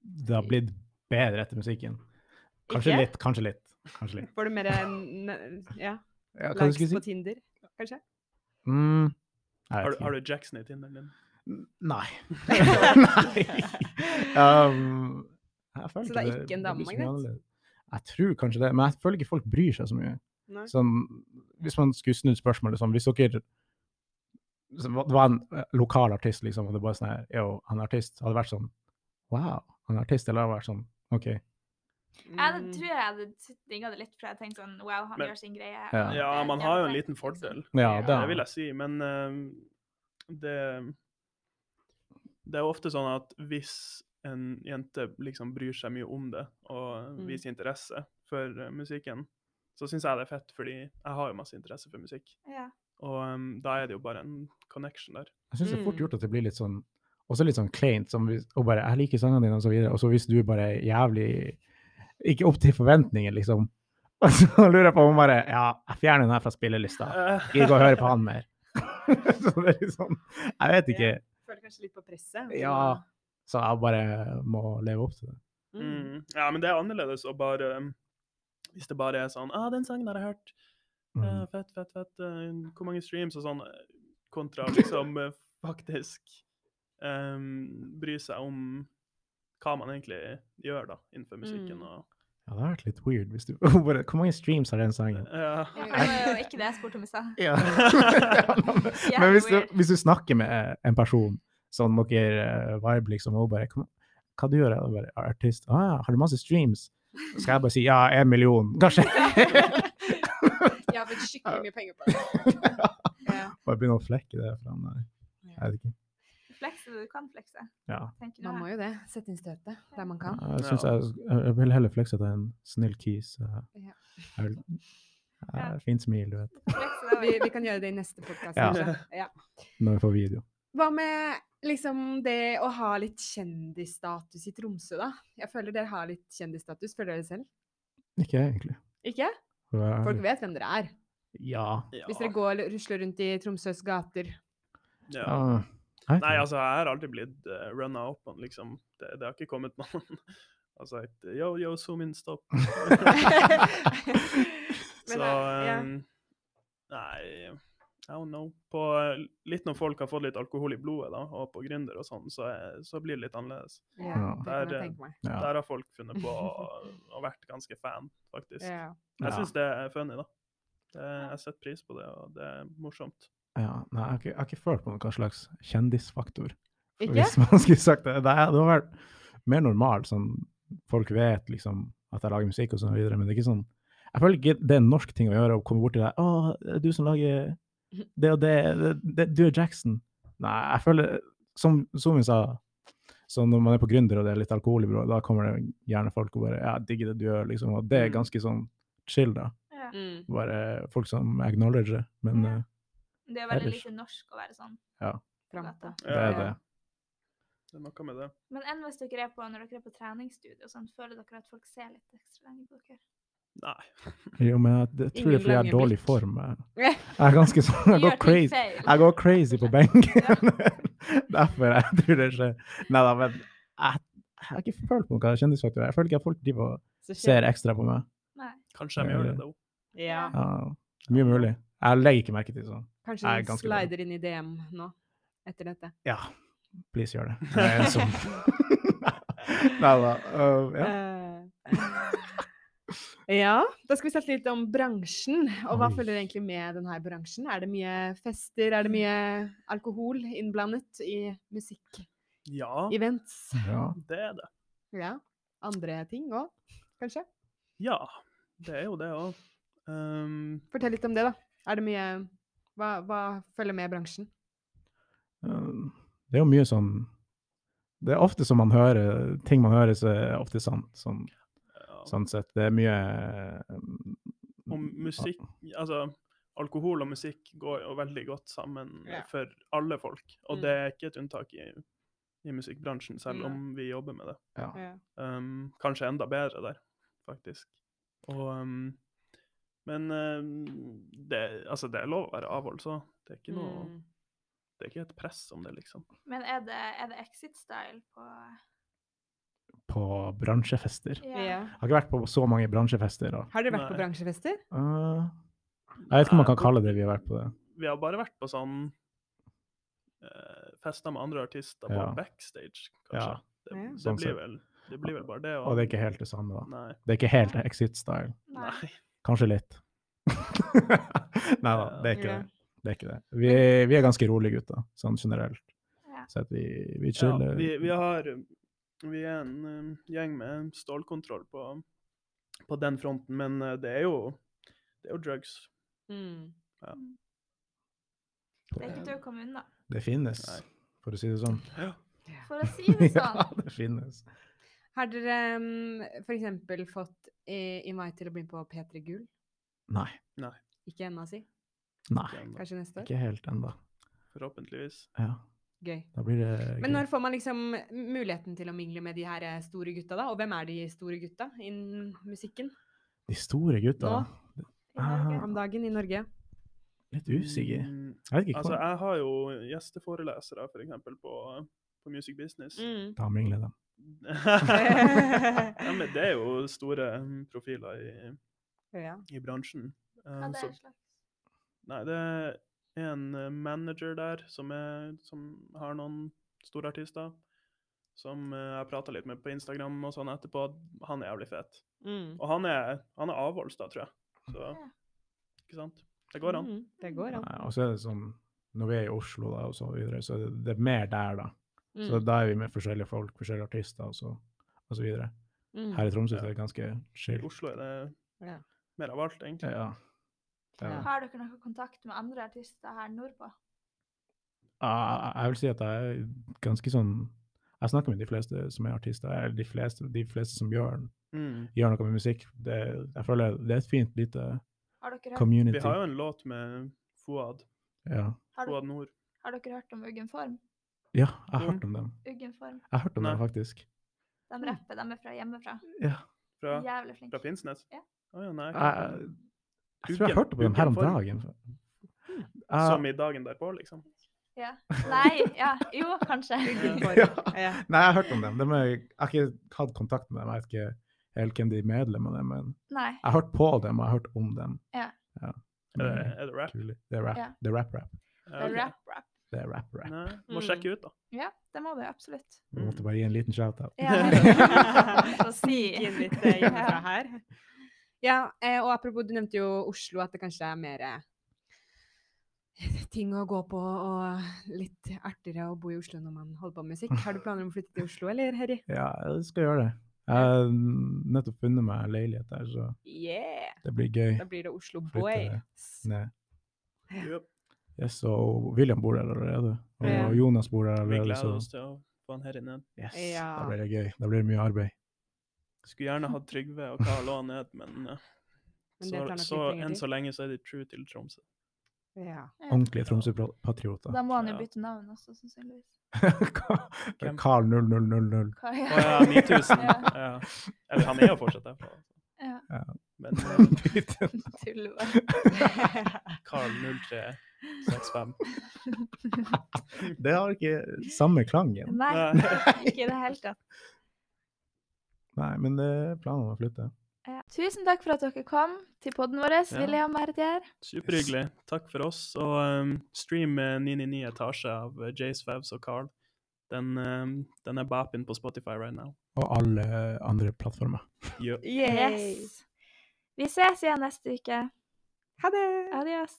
C: det har blitt bedre etter musikken. Kanskje
D: Ikke?
C: litt, kanskje litt. Kanskje litt.
D: Får du mer eh, n- ja,
C: Ja, hva
D: likes
C: skulle
D: på
C: jeg si?
D: Tinder, kanskje?
C: Mm, jeg
B: Har,
C: vet
B: du-
C: ikke.
B: har du Jackson i Tinderen din?
C: N- Nei. Nei. Um, jeg føler
D: Så det er ikke
C: blir så
D: en
C: mye
D: damemagnet?
C: annerledes. Jeg tror kanskje det, men jeg føler ikke folk bryr seg så mye.
D: Nei.
C: Sånn, hvis man skulle snudd spørsmålet sånn, hvis dere så hva- Det var en eh, lokal artist, liksom, og det bare sånn her Yo, han er artist. Hadde det vært sånn Wow, han er artist. Eller hadde det vært sånn OK.
A: Jeg
D: Mm.
A: tror jeg hadde digga det litt, for jeg tenkte sånn Wow, han
B: Men-
A: gjør sin greie.
C: Ja.
A: og
B: Ja,
A: det-
B: man
A: det
B: har jo
A: er
B: en
A: fett,
B: liten
A: liksom.
B: fordel.
C: Ja,
A: Ja.
C: det
B: Det vil jeg si, men eh, det, det er ofte sånn at hvis en jente liksom bryr seg mye om det og
D: Mm.
B: viser interesse for eh, musikken, så syns jeg det er fett, fordi jeg har jo masse interesse for musikk.
A: Ja.
B: Og eh, da er det jo bare en connection der.
C: Jeg syns det er fort
D: Mm.
C: gjort at det blir litt sånn også litt sånn kleint, som hvis, og bare 'jeg liker sangene dine', og så videre, og så hvis du bare er jævlig ikke opp til forventninger, liksom, og så lurer jeg på om hun bare 'ja, jeg fjerner den her fra spillelista', gidder ikke å høre på han mer. så det er litt sånn, jeg vet ikke,
D: Føler kanskje litt på presset. altså.
C: Ja. så jeg bare må leve opp til det.
D: Mm.
B: Mm. Ja, men det er annerledes å bare um, Hvis det bare er sånn ah, 'Den sangen har jeg hørt.
C: Mm.
B: Ja, fett, fett, fett. eh, hvor mange streams?' og sånn, eh, kontra liksom eh, faktisk em, bry seg om hva man egentlig gjør da, innenfor musikken.
D: Mm.
B: og...
C: Ja, det har vært litt weird hvis du hun bare, Hvor mange streams har den sangen?
B: Ja.
A: Ja, men det var jo ikke det jeg spurte om i stad.
C: Ja. men men hvis, du, hvis du snakker med eh, en person, sånn dere eh, vibe, liksom, og hun bare «Kom- Hva du gjør du? Bare «Jeg er artist. Å ja, har du masse streams? Så skal jeg bare si ja, en million, kanskje?
D: Jeg har fått skikkelig mye penger på det. Ja.
C: Bare begynne å flekke det fra Nei, jeg vet ikke.
A: Flekse det du kan flekse.
C: Ja.
A: tenker
D: Man
A: nå
D: må
A: jeg.
D: jo det. Sette inn støtet der man kan.
C: Jeg syns jeg, jeg vil heller flekse til en snill kis. eh,
D: Ja.
C: Jeg vil,
A: Ja.
C: eh, fint smil, du vet.
A: Flekse det
D: Vi,
A: også.
D: vi kan gjøre det i neste podkast.
C: Ja.
D: Ja.
C: Når vi får video.
D: Hva med liksom det å ha litt kjendisstatus i Tromsø, da? Jeg føler dere har litt kjendisstatus, føler dere selv?
C: Ikke jeg, egentlig.
D: Ikke?
C: Har skal være
D: Folk
C: ærlig.
D: vet hvem dere er.
C: Ja.
D: Hvis dere går eller rusler rundt i Tromsøs gater.
B: Ja.
C: ja.
B: Nei, altså, jeg har aldri blitt uh, runna opp, men liksom. Det, det har ikke kommet noen og sagt yo, yo, zoom in, stopp.
D: Men,
B: Så
D: eh, ja.
B: um, Nei, I don't know. På, eh, litt når folk har fått litt alkohol i blodet, da, og på gründer og sånn, så, er- så blir det litt annerledes.
D: Ja,
C: Ja.
D: det kan
B: Der,
D: jeg
B: eh,
D: tenke meg.
C: Ja.
B: Der har folk funnet på å- og vært ganske fan, faktisk.
D: Ja.
C: Ja.
B: Jeg syns det er funny, da. Det, jeg setter pris på det, og det er morsomt.
C: Ja, nei, jeg har, ikke, jeg har ikke følt på noen slags kjendisfaktor.
D: Ikke?
C: Hvis man skulle sagt det. Nei, det hadde vært mer normalt. Sånn, folk vet liksom at jeg lager musikk og sånn videre, men det er ikke sånn Jeg føler ikke det er en norsk ting å gjøre å komme bort til deg 'Å, det er du som lager det og det, det, det Du er Jackson.' Nei, jeg føler Som, som vi sa, så når man er på gründer og det er litt alkohol i blodet, da kommer det gjerne folk og bare 'Ja, jeg digger det du gjør', liksom. Og det er ganske sånn chill, da.
A: Ja.
D: Mm.
C: Bare folk som acknowledger det. Men
A: Ja.
C: eh,
A: Det er veldig
C: Ellers-
A: lite norsk å være sånn.
D: Framta.
A: Det
C: det er
B: Ja.
C: det.
B: Det er noe med det.
A: Men enn hvis dere er på, når dere er på treningsstudio, og sånn, føler dere at folk ser litt ekstra lenge på dere?
B: Nei.
C: Jo, men jeg, jeg tror det er fordi jeg
D: lange
C: er dårlig i
D: blikk.
C: form. Jeg, jeg er ganske sånn Jeg
A: Gjør
C: går
A: ting
C: crazy.
A: feil.
C: Jeg går crazy på benken. Derfor jeg tror det skjer. Nei da, men jeg, jeg har ikke følt på noen kjendisfaktor. Jeg føler ikke at folk driver og
D: Så skjer-
C: ser ekstra på meg.
A: Nei.
B: Kanskje de gjør det, da.
D: Ja.
C: Ja, mye mulig. Jeg legger ikke merke til sånn.
D: Kanskje
C: Jeg er
D: den
C: ganske dårlig.
D: slider inn i DM nå, etter dette.
C: Ja, please gjør det. Jeg er ensom. Nei da. um, ja.
D: Eh, ja, da skal vi snakke litt om bransjen. Og hva
C: Oi.
D: følger egentlig med denne bransjen? Er det mye fester? Er det mye alkohol innblandet i musikkevents?
B: Ja,
C: ja.
B: det er det.
D: Ja. Andre ting òg, kanskje?
B: Ja, det er jo det òg. Um,
D: Fortell litt om det, da. Er det mye Hva, hva følger med bransjen?
C: Um, Det er jo mye sånn Det er ofte som man hører ting man hører, så er ofte sant. Sånn,
B: ja.
C: sånn sett. Det er mye um,
B: Og musikk Altså, alkohol og musikk går jo veldig godt sammen
D: Ja.
B: for alle folk. Og
D: Mm.
B: det er ikke et unntak i, i musikkbransjen, selv
D: Nei.
B: om vi jobber med det.
C: Ja.
B: Um, kanskje enda bedre der, faktisk. Og um, Men um, det, altså, det er lov å være avholds òg. Det er ikke noe
D: Mm.
B: Det er ikke et press om det, liksom.
A: Men er det, er det exit style på
C: På bransjefester.
A: Ja.
D: Ja.
C: Jeg har ikke vært på så mange bransjefester. Da.
D: Har dere vært på
B: Nei.
D: bransjefester?
C: Uh, jeg vet ikke om man kan kalle det vi har vært på det.
B: Vi har bare vært på sånn eh, fester med andre artister på
C: Ja.
B: backstage, kanskje.
C: Ja.
B: Det,
D: Ja.
B: det,
C: Sånn sett.
B: blir vel, det blir vel bare det.
C: Og det er ikke helt det samme, da.
B: Nei.
C: Det er ikke helt Exit-style.
A: Nei.
B: nei.
C: Kanskje litt. Nei da, det er ikke
D: Ja.
C: det. Det er ikke det. Vi, vi er ganske rolige gutter, sånn generelt.
A: Ja.
C: Så at vi, vi
B: Ja,
C: chiller.
B: vi, vi har um, Vi er en um, gjeng med stålkontroll på, på den fronten, men uh, det er jo det er jo drugs.
D: Mm.
A: Det er ikke til å komme unna.
C: Det finnes,
B: Nei.
C: for å si det sånn.
A: For å si det sånn.
C: ja, det finnes.
D: Har dere um, f.eks. fått eh, invite til å bli med på P3 Gull?
C: Nei.
D: Ikke ennå, si.
C: Nei.
B: igjen, da,
D: Kanskje neste år?
C: Ikke helt ennå.
B: Forhåpentligvis.
C: Ja,
D: Gøy.
C: da blir det
D: Men når får man liksom muligheten til å mingle med de her eh, store gutta, da? Og hvem er de store gutta innen musikken
C: De store gutta.
D: Nå?
A: I Norge.
D: om dagen i Norge?
C: Litt usikker.
B: Mm,
C: Jeg vet ikke
B: altså,
C: hvor
B: jeg har jo gjesteforelesere, for eksempel, på, på Music Business.
A: Mm.
D: Mm.
C: Da mingler de.
B: ja, men det er jo store um, profiler i,
D: ja.
B: i bransjen. Um,
A: Ja, det
B: så-
A: er en slags.
B: Nei, det er en eh, manager der som, er, som har noen store artister. Som eh, jeg prata litt med på Instagram og sånn etterpå. Han er jævlig fet.
D: Mm.
B: Og han er, han er avholds, da, tror jeg. Så
A: Ja.
B: ikke sant? Det går an.
D: Mm, det går an.
C: Nei, Og så er det sånn Når vi er i Oslo da, og så videre, så er det, det er mer der, da. Så
D: Mm.
C: da er vi med forskjellige folk, forskjellige artister og så, og så videre.
D: Mm.
C: Her i Tromsø så er det ganske
B: I
A: Mm.
C: chill.
B: Oslo er det
D: Ja.
B: mer av alt, egentlig.
C: Ja. Ja.
D: Ja.
A: Har dere noe kontakt med andre artister her nordpå?
C: Ah, Jeg vil si at jeg er ganske sånn Jeg snakker med de fleste som er artister, eller de fleste, de fleste som gjør,
B: Mm.
C: gjør noe med musikk. Det, jeg føler det er et fint lite
A: Har dere hørt,
C: community.
B: Vi har jo en låt med Fouad.
C: Ja.
A: har, dere-
B: Fouad Nord.
A: har dere hørt om Uggen Form?
C: ja, jeg har
D: Mm.
B: Jo.
C: hørt om dem.
A: Uggen Form.
C: Jeg har hørt om
B: Nei.
C: dem, faktisk.
A: De rapper, de er fra hjemmefra.
C: Ja.
B: Fra,
A: Jævlig
B: fra
A: flinke.
B: Finnsnes.
A: Ja.
C: Ah,
B: Å ja, nei.
C: Jeg, Jeg tror jeg
B: Uken-
C: hørte på dem her
B: uken
C: om
B: for.
C: dagen. Eh,
B: Som i dagen derpå, liksom.
A: Ja. Nei, ja, jo, kanskje.
D: Uggen
C: Ja.
D: for. Ja.
C: nei, jeg har hørt om dem. dem er, jeg har ikke hatt kontakt med dem. Jeg vet ikke helt hvem de er medlem av, dem, men
A: Nei.
C: jeg har hørt på dem, og jeg har hørt om dem.
A: Ja.
B: Er
C: Men,
B: det,
C: eh,
B: er det rap?
C: kul. Det er rap,
A: Ja.
C: det er rap, rap.
A: Det er rap, rap.
C: Det er rap, rap.
B: Nei, må
D: Mm.
B: sjekke ut, da.
A: Ja, det må vi absolutt.
C: Vi måtte
B: Mm.
C: bare gi en liten shout-out.
A: Ja. Så
D: Snike
A: si.
D: inn litt eh, hjemmefra her. Ja, eh, og apropos, du nevnte jo Oslo, at det kanskje er mer eh, ting å gå på og litt artigere å bo i Oslo når man holder på med musikk. Har du planer om å flytte til Oslo, eller, Harry?
C: Ja, jeg skal gjøre det. Jeg har nettopp funnet meg leilighet der, så
D: Yeah!
C: det blir gøy.
D: Da blir det Oslo
C: Flytte
D: Boys.
C: Nei.
B: Yep.
C: Yes, og William bor der allerede, og
D: Ja.
C: Jonas bor der
B: Vi
C: allerede,
B: gleder
C: så
B: oss til å få han her inne.
C: yes,
D: Ja.
C: da blir det gøy. Da blir det mye arbeid.
B: Skulle gjerne hatt Trygve og Karl òg ned, men, eh,
D: Men det
B: så,
D: tar nok
B: så,
D: litt lenger
B: enn
D: tid.
B: så lenge så er de true til Tromsø.
D: Ja.
C: Ordentlige Tromsø-patrioter.
A: Da må han jo
B: Ja.
A: bytte navn også, sannsynligvis.
B: Hvem?
C: Carl 0000.
A: Hva
B: Å ja, 9000.
A: Ja.
B: Ja. Eller han er jo fortsatt derfra.
A: Ja.
C: Ja.
B: Men eh,
A: Tuller bare.
B: Carl 0365.
C: Det har ikke samme klangen.
A: Nei,
B: Nei.
A: ikke i det hele tatt.
C: Nei, men det er planen om å flytte.
A: Ja. Tusen takk for at dere kom til podden vår,
B: Ja.
A: William Herdier.
B: Superhyggelig. Takk for oss. Og um, stream eh, 999 Etasje av eh, Jace Favs og Carl. Den, um, den er bapin på Spotify right now.
C: Og alle andre plattformer.
B: Yo.
A: Yes. Vi ses igjen neste uke.
D: Ha det!
A: Adios.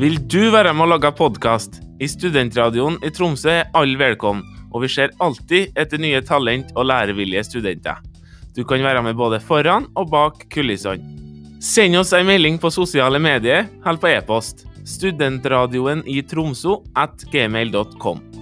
E: Vil du være med å lage podkast? I Studentradioen i Tromsø er alle velkommen, og vi ser alltid etter nye talent og lærevillige studenter. Du kan være med både foran og bak kulissene. Send oss en melding på sosiale medier eller på e-post studentradioen i tromsø at gmail.com.